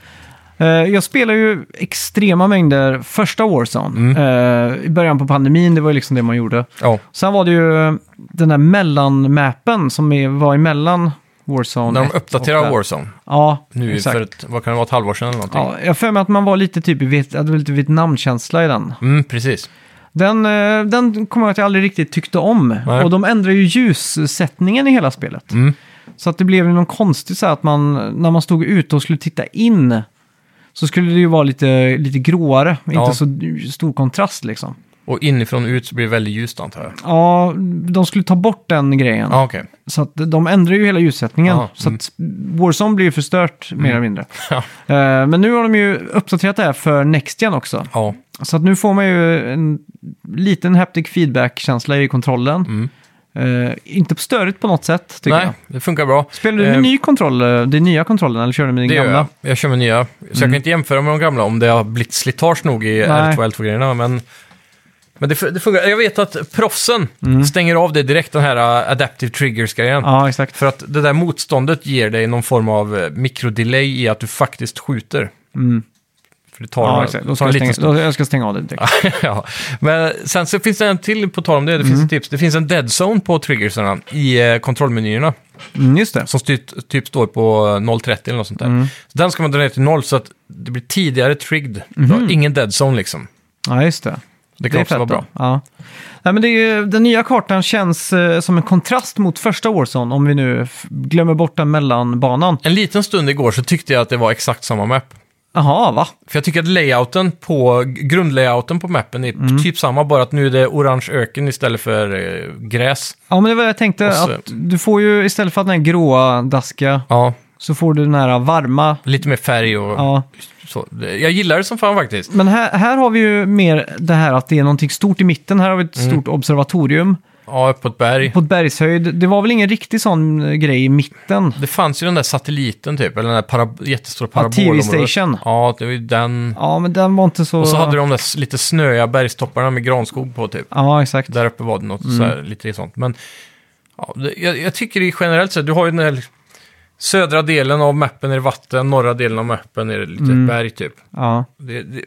Eh, Jag spelar ju extrema mängder första Warzone.
Mm.
Eh, I början på pandemin, det var ju liksom det man gjorde.
ja.
Sen var det ju den där mellanmappen som är- var emellan Warzone.
När de
ett och
uppdaterar
där.
Warzone,
Ja,
nu
exakt.
för ett, vad kan det vara, ett halvår sedan eller någonting?
Ja, jag har för mig att man var lite typ, i Viet- hade lite Vietnamkänsla i den.
Mm, precis.
Den, eh, den kommer jag att jag aldrig riktigt tyckte om.
Nej.
Och de ändrar ju ljussättningen i hela spelet.
Mm.
Så att det blev ju någon konstig så här att man, när man stod ute och skulle titta in, så skulle det ju vara lite, lite gråare,
Ja.
inte så stor kontrast liksom.
Och inifrån och ut så blir det väldigt ljust antar jag.
Ja, de skulle ta bort den grejen.
Ja, okej.
Så att de ändrar ju hela ljussättningen.
Ja, mm.
Så att Warzone blir ju förstört mer eller mindre.
Ja.
Eh, Men nu har de ju uppdaterat det här för Next Gen också.
Ja.
Så att nu får man ju en liten haptic feedback-känsla i kontrollen. Eh, inte på störigt på något sätt, tycker
Mm. Nej,
jag.
det funkar bra.
Spelar du med
Eh,
ny kontroll, eh, den nya kontrollen, eller kör du med din
Det gör jag.
gamla? Mm.
Jag kör med nya. Så jag kan inte jämföra med de gamla om det har blivit slitage nog i R2 och L2-grejerna. Men, men det, fu- det fungerar. Jag vet att proffsen stänger av det direkt, den här äh, Adaptive Triggers-grejen.
Mm. Ja, exakt.
För att det där motståndet ger dig någon form av äh, mikrodelay i att du faktiskt skjuter. För det tar,
Mm. Ja, exakt. Då
det
ska
tar en
jag,
liten
stänga,
stund.
då, jag ska stänga av det direkt.
ja. Men sen så finns det en till, på tal om det, det finns ett
Mm.
tips. Det finns en dead zone på triggersarna i äh, kontrollmenyerna.
Mm, just det. Mm.
Som styrt, typ står på 0,30 eller något sånt där. Så den ska man dra ner till 0 så att det blir tidigare trigged. Då, ingen dead zone liksom.
Ja, just Mhm. det.
Det kan
är
också vara
fett
bra.
då. Ja. Nej, men det är, den nya kartan känns eh, som en kontrast mot första Warzone, om vi nu f- glömmer bort den mellanbanan.
En liten stund igår så tyckte jag att det var exakt samma map.
Jaha, va?
För jag tycker att layouten på, grundlayouten på mappen är
Mm.
typ samma, bara att nu är det orange öken istället för eh, gräs.
Ja, men det var jag tänkte.
Och så-
att du får ju istället för att den här gråa daska
Ja,
så får du den här varma.
lite mer färg och
Ja.
så. Det- Jag gillar det som fan faktiskt. Mm.
Men här, här har vi ju mer det här att det är någonting stort i mitten. Här har vi ett stort observatorium.
Ja, upp på ett berg.
På ett bergshöjd. Det var väl ingen riktig sån eh, grej i mitten?
Det fanns ju den där satelliten typ, eller den där para, jättestora
Ja,
parabolområdet.
TV-station.
Ja, det var ju den.
Ja, men den var inte så...
Och så hade de de där s- lite snöiga bergstopparna med granskog på typ.
Ja, exakt.
Där uppe var det något
Mm.
så här, lite sånt. Men ja, det, jag, jag tycker i generellt sett, du har ju den här liksom, södra delen av mappen är det vatten, norra delen av mappen är det lite
Mm.
berg typ.
Ja.
Det, det,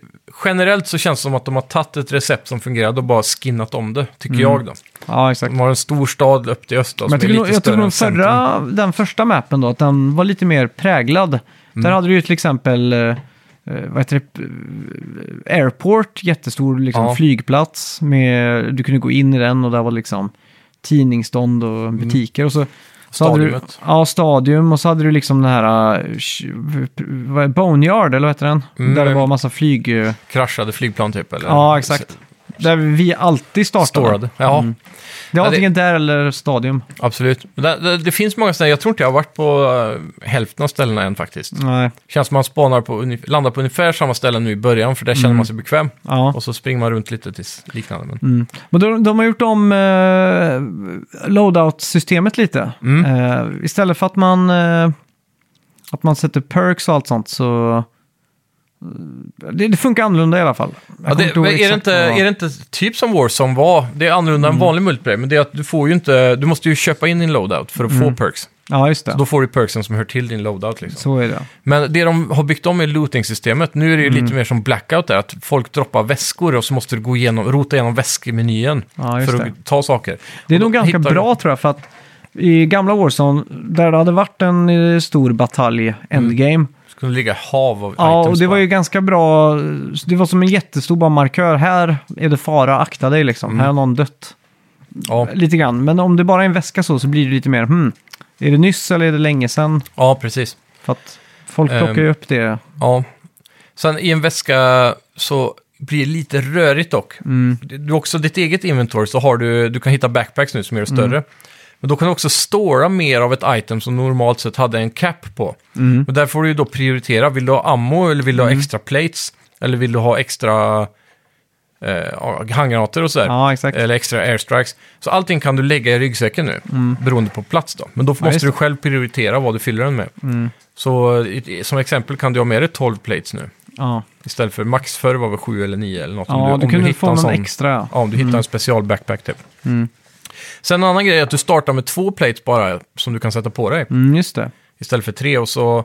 generellt så känns det som att de har tagit ett recept som fungerade och bara skinnat om det, tycker jag då.
ja, exakt.
De har en stor stad upp till öst då,
Mm. Men jag
som
tycker
är
nog-
Mm. lite
jag
större
tycker
än
nog
centrum.
förra, den första mappen då, att den var lite mer präglad.
Mm.
Där hade du ju till exempel, eh, vad heter det, eh, airport, jättestor liksom,
Ja.
flygplats. Med, du kunde gå in i den och där var liksom tidningsstånd och butiker. Och så, så hade du,
Mm. Stadiumet.
ja, stadium och så hade du liksom den här eh, sh- vad är- Boneyard, eller vad heter den?
Mm.
Där det var massa flyg... eh,
Kraschade flygplan typ, eller?
Ja, exakt. Mm. Där vi alltid startade.
Storade. Ja,
Det var
Ja, det-
antingen där eller stadium.
absolut. Men Det, det, det finns många ställen, jag tror inte jag har varit på eh, hälften av ställena än faktiskt.
Nej,
Känns som man spanar på, ungef- landar på ungefär samma ställen nu i början, för där känner man sig bekväm.
Mm. ja. Mm.
Och så springer man runt lite tills liknande. Men...
Men de, de har gjort om eh, loadout-systemet lite.
Mm.
Eh, istället för att man, eh, att man sätter perks och allt sånt så... eh, Det, det funkar annorlunda i alla fall. Jag kommer
Ja, det,
inte ihåg
men är, det
exakt
inte,
vad Mm. det var.
är det inte typ som Warzone var? Det är annorlunda än vanlig multiplayer, men det är att du får ju inte... Du måste ju köpa in din loadout för att få perks.
Mm. Ja, just det.
Då får du perksen som hör till din loadout liksom.
Så är det.
Men det de har byggt om är looting-systemet. Nu är det ju
Mm.
lite mer som Blackout där, att folk droppar väskor och så måste du gå igenom, rota igenom väskmenyn
Ja, just
för att
det.
ta saker.
Det är
Och då
nog ganska
hittar du-
bra tror jag, för att i gamla Warzone, där det hade varit en eh, stor batalj, endgame,
Det skulle ligga hav av
Ja,
items
och det var
bara.
ju ganska bra. Det var som en jättestor bara markör. Här är det fara, akta dig liksom.
Mm.
Här har någon dött.
Ja.
Lite grann. Men om det bara är en väska så, så blir det lite mer, hmm, är det nyss eller är det länge sedan?
ja, precis.
För att folk
Ehm.
plockar ju upp det.
Ja. Sen i en väska så blir det lite rörigt dock.
Mm.
Du har också ditt eget inventory så har du, du kan hitta backpacks nu som är större. Men då kan du också stora mer av ett item som normalt sett hade en cap på.
Mm.
Och där får du ju då prioritera, vill du ha ammo eller vill du ha extra plates? Eller vill du ha extra eh, ja, handgranater och sådär?
Ja, exakt.
Eller extra airstrikes. Så allting kan du lägga i ryggsäcken nu, beroende på plats då. Men då
just Mm.
måste du
det.
själv prioritera vad du fyller den med. Så i- som exempel kan du ha med dig 12 plates nu.
Ja,
Istället för max förr var väl 7 eller 9 eller något.
ja du,
om
kunde
hittar
få
en
någon
sån-
extra. Mm.
Ja, om du hittar en special backpack typ. Sen en annan grej är att du startar med två plates bara som du kan sätta på dig.
Mm, just det.
Istället för tre och så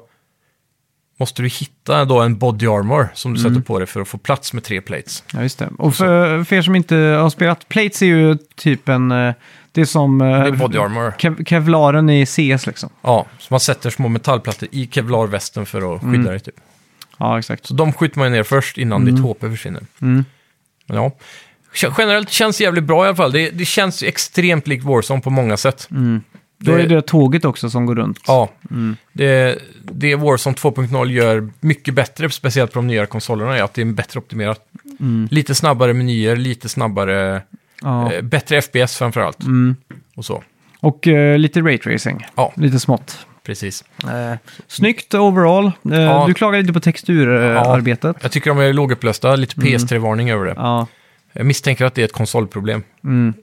måste du hitta då en body armor som du
Mm.
sätter på dig för att få plats med tre plates.
Ja, just det. Och för, för er som inte har spelat, Plates är ju typ en... eh, Det är som eh,
Det är body armor.
kev- kevlaren i CS liksom.
Ja, så man sätter små metallplattor i kevlarvästen för att skydda
Mm.
dig typ.
Ja, exakt.
Så de skjuter man ju ner först innan
Mm.
ditt HP försvinner. Men ja. K- Generellt känns det jävligt bra i alla fall. Det, det känns ju extremt likt Warzone på många sätt.
Mm. Då är det tåget också som går runt.
Ja.
Mm.
Det, det Warzone 2.0 gör mycket bättre, speciellt på de nya konsolerna, är att det är bättre optimerat. Lite snabbare menyer, lite snabbare...
Mm. Ja.
Eh, bättre FPS framförallt. Och så.
Mm. Och eh, lite raytracing.
Ja.
Lite smått.
Precis.
Eh, snyggt overall. Eh,
Ja.
Du klagar lite på texturarbetet.
Jag tycker de är lågupplösta, lite PS3-varning över det.
Mm. Ja. Mm.
Jag misstänker att det är ett konsolproblem.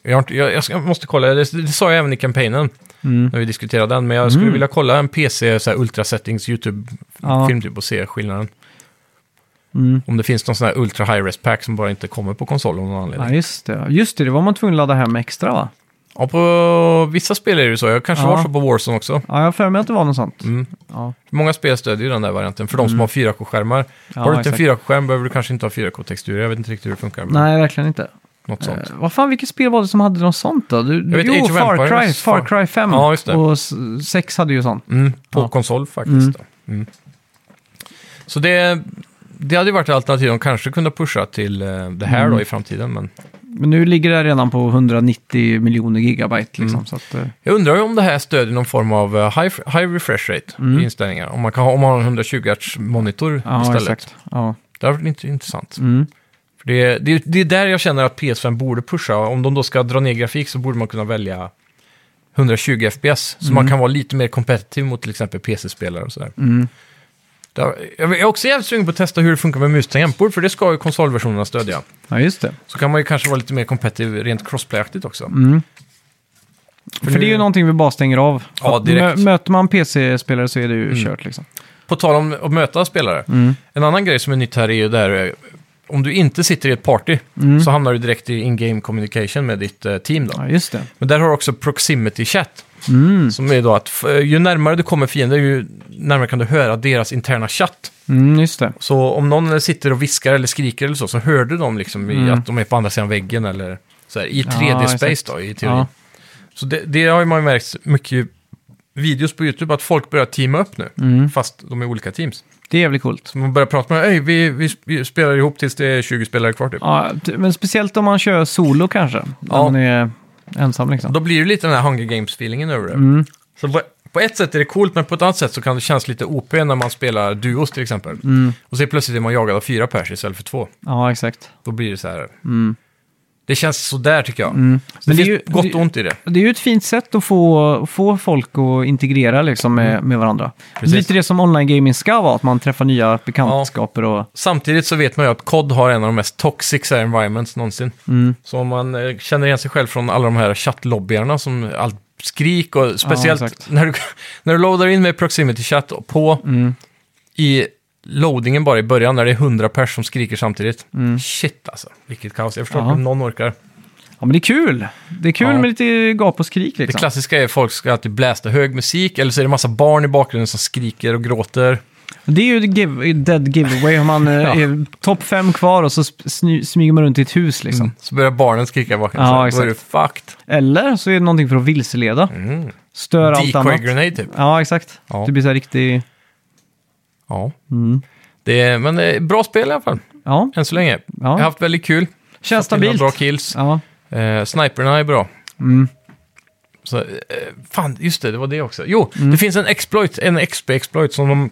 Jag, har inte, jag, jag ska, måste kolla, det, det sa jag även i kampanjen
Mm.
när vi diskuterade den, men jag skulle vilja kolla en PC så här, Ultra Settings
Ja. Mm.
YouTube-film typ, och se skillnaden. Om det finns någon sån här Ultra High Res Pack som bara inte kommer på konsol av någon
ja,
anledning.
just det. Just det, det var man tvungen att ladda hem extra va?
Ja, på vissa spel är det ju så. Jag kanske
Ja.
var så på Warzone också.
Ja, jag har för mig att det var något sånt.
Mm.
Ja.
Många spel stödjer ju den där varianten, för de som har 4K-skärmar.
Mm. Ja,
har du inte
exakt.
en 4K-skärm behöver du kanske inte ha 4K-texturer. Jag vet inte riktigt hur det funkar. men
Nej, verkligen inte.
Något sånt.
Eh, vad fan, vilket spel var det som hade något sånt då? Du,
Jag vet, Age
jo,
of
Far
Empires.
Cry, Far Cry 5
Ja, just det.
och 6 hade ju sånt.
Mm, på
Ja.
konsol faktiskt. Då. Mm. Så det, det hade ju varit ett alternativ de kanske kunde pusha till eh, det här
Mm.
då i framtiden. Men
Men nu ligger det redan på 190 miljoner gigabyte
Mm.
liksom. Så att, eh,
jag undrar ju om det här stödjer någon form av eh, high, high refresh rate i inställningar. Om man, kan ha, om man har en 120 Hz monitor
Mm. ja,
istället.
exakt. Ja.
Det hade varit int- intressant.
Mm.
För det, det, det är där jag känner att PS5 borde pusha. Om de då ska dra ner grafik så borde man kunna välja 120 FPS. Så man kan vara lite mer kompetitiv mot till exempel PC-spelare och sådär.
Mm.
Där, jag är också jävligt sugen på att testa hur det funkar med mus och tangentbord, för det ska ju konsolversionerna stödja.
ja, just det.
Så kan man ju kanske vara lite mer kompetitiv rent crossplay-aktigt också.
För det är ju någonting vi bara stänger av.
Mm. Ja,
Att
direkt. Mm.
mö- Möter man PC-spelare så är det ju kört liksom.
På tal om att möta spelare. En annan grej som är nytt här är ju det här, eh, om du inte sitter i ett party så hamnar du direkt i in-game communication med ditt eh, team då.
Ja, just det.
Men där har du också proximity chat.
Mm.
Som är då att f- ju närmare du kommer fienden, ju närmare kan du höra deras interna chatt.
Mm, just det.
Så om någon sitter och viskar eller skriker eller så, så hör du dem liksom i att de är på andra sidan väggen eller så här, i
Mm. Ja,
3D-space
exakt.
då, i teorin.
Ja.
Så det, det har ju man ju märkt mycket videos på YouTube, att folk börjar teama upp nu,
Mm.
fast de är olika teams.
Det är jävligt coolt.
Så man börjar prata med "Ey, vi, vi sp- spelar ihop tills det är 20 spelare kvar typ.
Ja, t- men speciellt om man kör solo kanske. När
Ja.
man är ensam liksom.
Då blir det lite den här Hunger Games-feelingen över det.
Mm.
Så på, på ett sätt är det coolt, men på ett annat sätt så kan det kännas lite OP när man spelar duos till exempel.
Mm.
Och så är plötsligt är man jagad av fyra pers istället för två.
Ja, exakt.
Då blir det så här. Det känns sådär tycker jag. Så
Mm. Men det
det,
är
finns
ju-
gott
det-
och ont i det.
Det är ju ett fint sätt att få, få folk att integrera liksom med, med varandra.
Mm. Precis.
Lite det som online-gaming ska vara, att man träffar nya bekantskaper och...
Samtidigt så vet man ju att COD har en av de mest toxic environments någonsin.
Mm.
Så om man eh, känner igen sig själv från alla de här chattlobbyarna som allt skrik och speciellt
exakt.
när, du, när du loadar in med proximity chat och på
Mm.
i loadingen bara i början när det är 100 pers som skriker samtidigt. Shit alltså, vilket kaos. Jag förstår
Mm. Ja.
inte om någon orkar.
Ja, men det är kul! Det är kul
Ja.
med lite gap och skrik
Det
liksom.
klassiska är att folk ska alltid blästa hög musik eller så är det massa barn i bakgrunden som skriker och gråter.
Det är ju ett give, dead giveaway om man eh, är topp fem kvar och så sp- sny, smyger man runt i ett hus liksom.
Så börjar barnen skrika i bakgrunden.
Ja,
så Då är du
exakt.
fucked.
Eller så är det någonting för att vilseleda. Stör allt
Mm. Decoy
annat.
grenade typ.
Ja, exakt.
Ja.
Det blir så här riktigt...
Ja. Det är, men det är bra spel i alla fall,
Mm. Ja,
än så länge. Jag har haft väldigt kul.
känns
Haft några
stabilt.
Bra kills.
Ja. Mm.
Eh, sniperna är bra. Så, eh, fan, just det, det var det också. Jo,
Mm.
det finns en exploit, en XP-exploit som de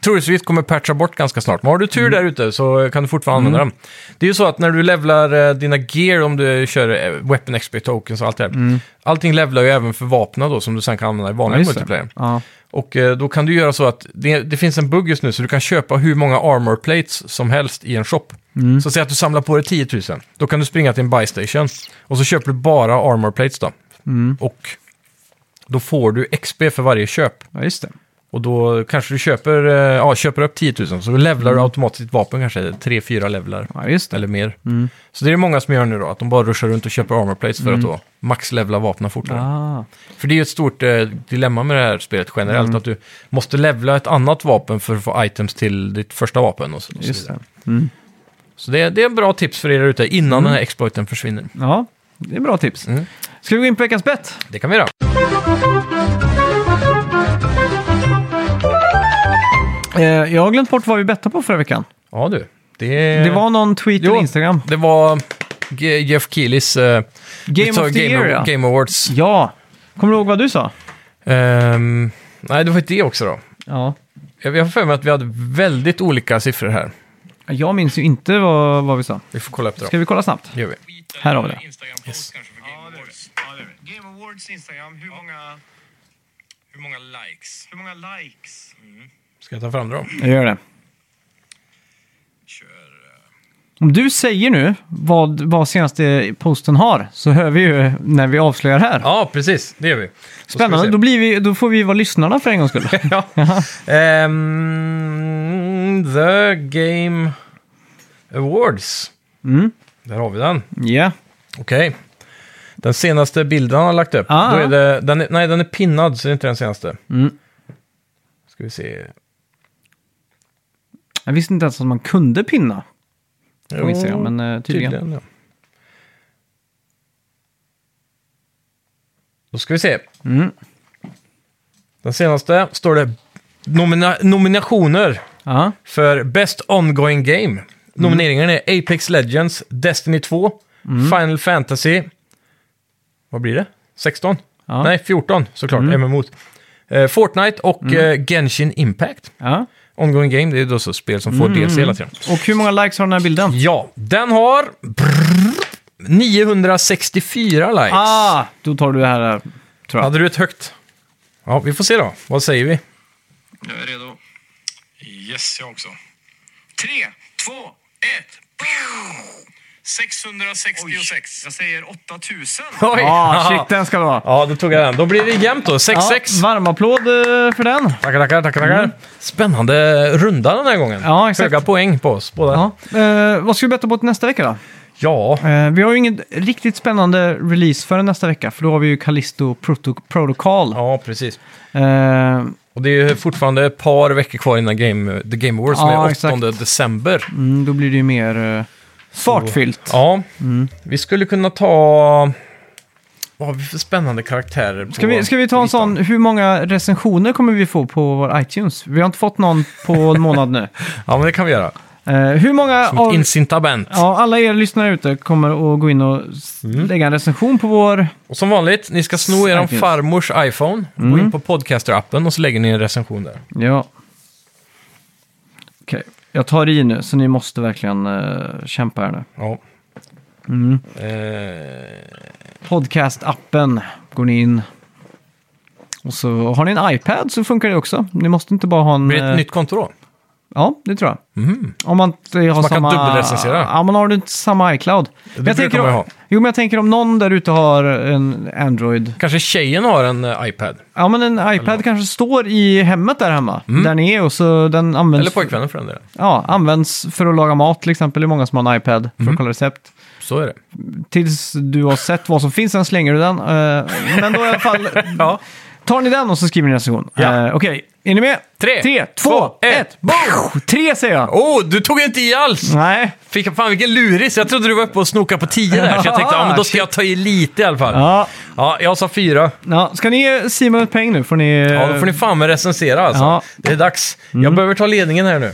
troligtvis kommer patcha bort ganska snart. Men har du
Mm.
tur där ute så kan du fortfarande använda den. Det är ju så att när du levlar eh, dina gear, om du kör eh, weapon XP tokens och allt det här. Allting levlar ju även för vapna då som du sen kan använda i
Mm. Ja,
vanliga
just
multiplayer.
det. Ja.
Och eh, då kan du göra så att det, det finns en bugg just nu, så du kan köpa hur många armor plates som helst i en shop. Så säg att du samlar på dig 10 000, då kan du springa till en buy station och så köper du bara armor plates då.
Mm.
Och då får du XP för varje köp.
ja, just det.
Och då kanske du köper, eh, ja, köper upp 10 000, så då levlar du automatiskt ditt vapen kanske 3-4 levlar
Ja, just det.
eller mer. Så det är det många som gör nu då, att de bara ruschar runt och köper armor plates för att då max-levla vapnen fortare.
Ah.
För det är ju ett stort eh, dilemma med det här spelet generellt,
Mm.
att du måste levla ett annat vapen för att få items till ditt första vapen och så, och så
Just
vidare.
det. Mm.
Så det, det är en bra tips för er där ute innan den här exploiten försvinner.
Ja, det är bra tips.
Mm.
Ska vi gå in på veckans bett?
Det kan vi göra.
Eh, jag har glömt bort vad vi bettade på förra veckan.
Ja du, det,
Det var någon tweet
Eh, Jo.
eller Instagram.
det var Ge- Jeff Keelys eh,
Game
vi tar
of the
Game,
year,
Awa-
ja.
Game Awards.
Ja. Kommer du ihåg vad du sa?
Ehm, nej, det var ju det också då.
Ja.
Jag jag har för mig att vi hade väldigt olika siffror här.
Jag minns ju inte vad, vad vi sa.
Vi får kolla upp det
Ska
då.
vi kolla snabbt?
Det gör vi.
Här har vi det.
Instagram-post kanske för Game Awards. Game Awards Instagram, hur, många,
Hur många likes?
hur många likes?
Ska jag ta fram det då?
Jag gör det.
eh.
Om du säger nu vad, vad senaste posten har så hör vi ju när vi avslöjar här.
Ja, precis. Det gör vi. Då ska vi
Spännande,
se.
då, blir vi, då får vi vara lyssnarna för en gångs skull.
ja. Ehm, the Game Awards.
Mm.
Där har vi den.
Ja,
Okej. Den senaste bilden han har lagt upp.
Ah. Mm.
Då är det, den är, nej, den är pinnad, så det är inte den senaste. Ska vi se.
jag visste inte ens att man kunde pinna på
Jo,
Instagram, men eh, tydligen.
ja. Då ska vi se.
Mm.
Den senaste står det nomina- nominationer.
Ja,
för Best Ongoing Game. Nomineringarna är Apex Legends, Destiny 2,
Mm.
Final Fantasy... Vad blir det? 16?
Ja. Mm.
Nej, 14 såklart, MMO. Eh, Fortnite och eh, Genshin Impact.
ja.
Ongoing Game, det är då så spel som får
Mm.
DLC hela tiden.
Och hur många likes har den här bilden?
Ja, den har... brrr, 964 likes.
Ah, då tar du det här, eh, tror jag.
Hade du ett högt? Ja, vi får se då. Vad säger vi?
Jag är redo. Yes, jag också. Tre, två, ett. Oj,
666.
jag säger 8000.
Oj!
Ja, Ah, shit den ska det vara.
Ja, då tog jag den. Då blir det jämnt då. 6-6.
Ja, varm applåd eh, för den.
Tackar, tackar, tackar, tackar. Mm. Spännande runda den här gången.
Ja, exakt.
Höga poäng på oss båda. Ja.
Ja. Eh, vad ska vi betta på till nästa vecka då? Eh, vi har ju ingen riktigt spännande release förrän nästa vecka, för då har vi ju Callisto Proto- Protocol.
ja, precis.
Eh,
Och det är ju fortfarande ett par veckor kvar innan game, The Game Awards som
Ja,
är 8
exakt.
december.
mm, då blir det ju mer eh, fartfyllt.
Ja,
Mm.
vi skulle kunna ta... Vad har vi för spännande karaktärer? på-
Ska vi, ska vi ta en sån, hur många recensioner kommer vi få på vår iTunes? Vi har inte fått någon på en månad nu.
Ja, men det kan vi göra.
Eh, hur många
Som ett
av...
incitament.
Ja, alla er lyssnare ute kommer att gå in och s-
Mm.
lägga en recension på vår...
Och som vanligt, ni ska sno er
Snyggt.
farmors iPhone,
Mm.
gå in på Podcaster-appen och så lägger ni en recension där.
Ja. Okej, jag tar i nu, så ni måste verkligen eh, kämpa här nu.
Ja.
Mm.
Eh,
Podcast-appen går ni in. Och så har ni en iPad så funkar det också. Ni måste inte bara ha en...
blir det ett
eh,
nytt konto då?
Ja, det tror jag. Om man inte har
man kan
samma...
Mm. dubbelrecensera.
Ja, man har du inte samma iCloud.
Det brukar man ju
om...
ha.
Jo, men jag tänker om någon där ute har en Android...
Kanske tjejen har en eh, iPad?
Ja, men en iPad kanske står i hemmet där hemma. Där ni är och så den används...
Mm. Eller pojkvännen för den delen.
Ja, används för att laga mat till exempel. Det är många som har en iPad för
Mm.
att kolla recept.
Så är det.
Tills du har sett vad som finns, sen slänger du den. Eh, Men då i alla fall,
Ja.
tar ni den och så skriver ni en recension.
Ja.
Eh, Okej, är ni med?
Tre,
Tre två, ett, boom! Tre säger jag.
Åh, oh, du tog inte i alls!
Nej.
Fick, fan vilken luris! Jag trodde du var uppe och snokade på tio där, så jag tänkte ja, men då ska jag ta i lite i alla fall. Ja,
Ja,
jag sa fyra.
ja. Ska ni ge Simon ett poäng nu? Får ni,
Ja, då får ni fan med recensera alltså.
Ja. Mm.
Det är dags. Jag behöver ta ledningen här nu.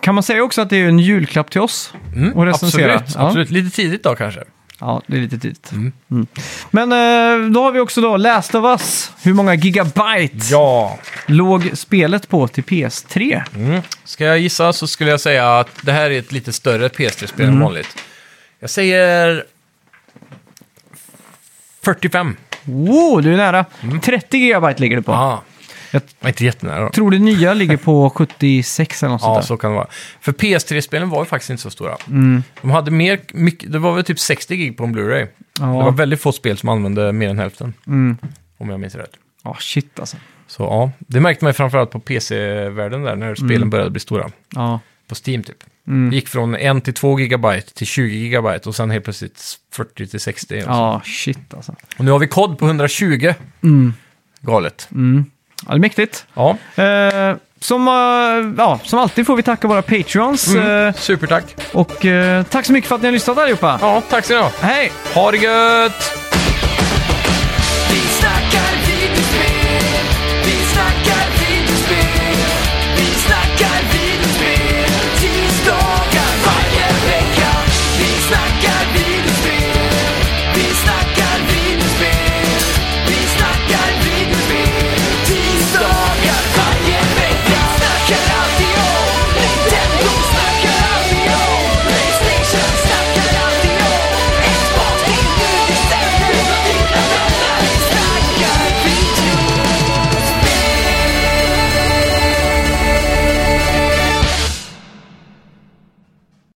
Kan man säga också att det är en julklapp till oss? och recensera?
Mm, Absolut,
ja.
absolut. Lite tidigt då kanske.
Ja, det är lite tidigt. Mm. Men eh, då har vi också då Last of Us. Hur många gigabyte
Ja.
låg spelet på till PS3?
Mm. Ska jag gissa så skulle jag säga att det här är ett lite större PS3-spel
Mm.
än vanligt. Jag säger... 45.
Wow, du är nära. 30 gigabyte ligger det på.
Mm. Ja. Jag
Jag-
var inte jättenära då.
Jag tror det nya ligger på 76 eller något
Ja,
sånt där.
så kan det vara. För PS3-spelen var ju faktiskt inte så stora.
Mm.
De hade mer, mycket, det var väl typ 60 gig på en Blu-ray. Det var
Ja, Mm.
väldigt få spel som använde mer än hälften. Om jag minns rätt.
Ja, shit alltså.
Så ja, det märkte man ju framförallt på PC-världen där, när spelen
Mm.
började bli stora.
Ja.
På Steam typ.
Mm.
Det gick från 1 till 2 gigabyte till 20 gigabyte och sen helt plötsligt 40 till 60. Och, så.
ja, shit alltså.
och nu har vi kod på 120.
Mm.
Galet.
Ja, det är mäktigt.
Ja,
Eh, som, eh, ja, som alltid får vi tacka våra Patreons.
Mm.
eh,
supertack.
och eh, tack så mycket för att ni har lyssnat allihopa.
Ja, tack så mycket.
Hej!
Ha det gött!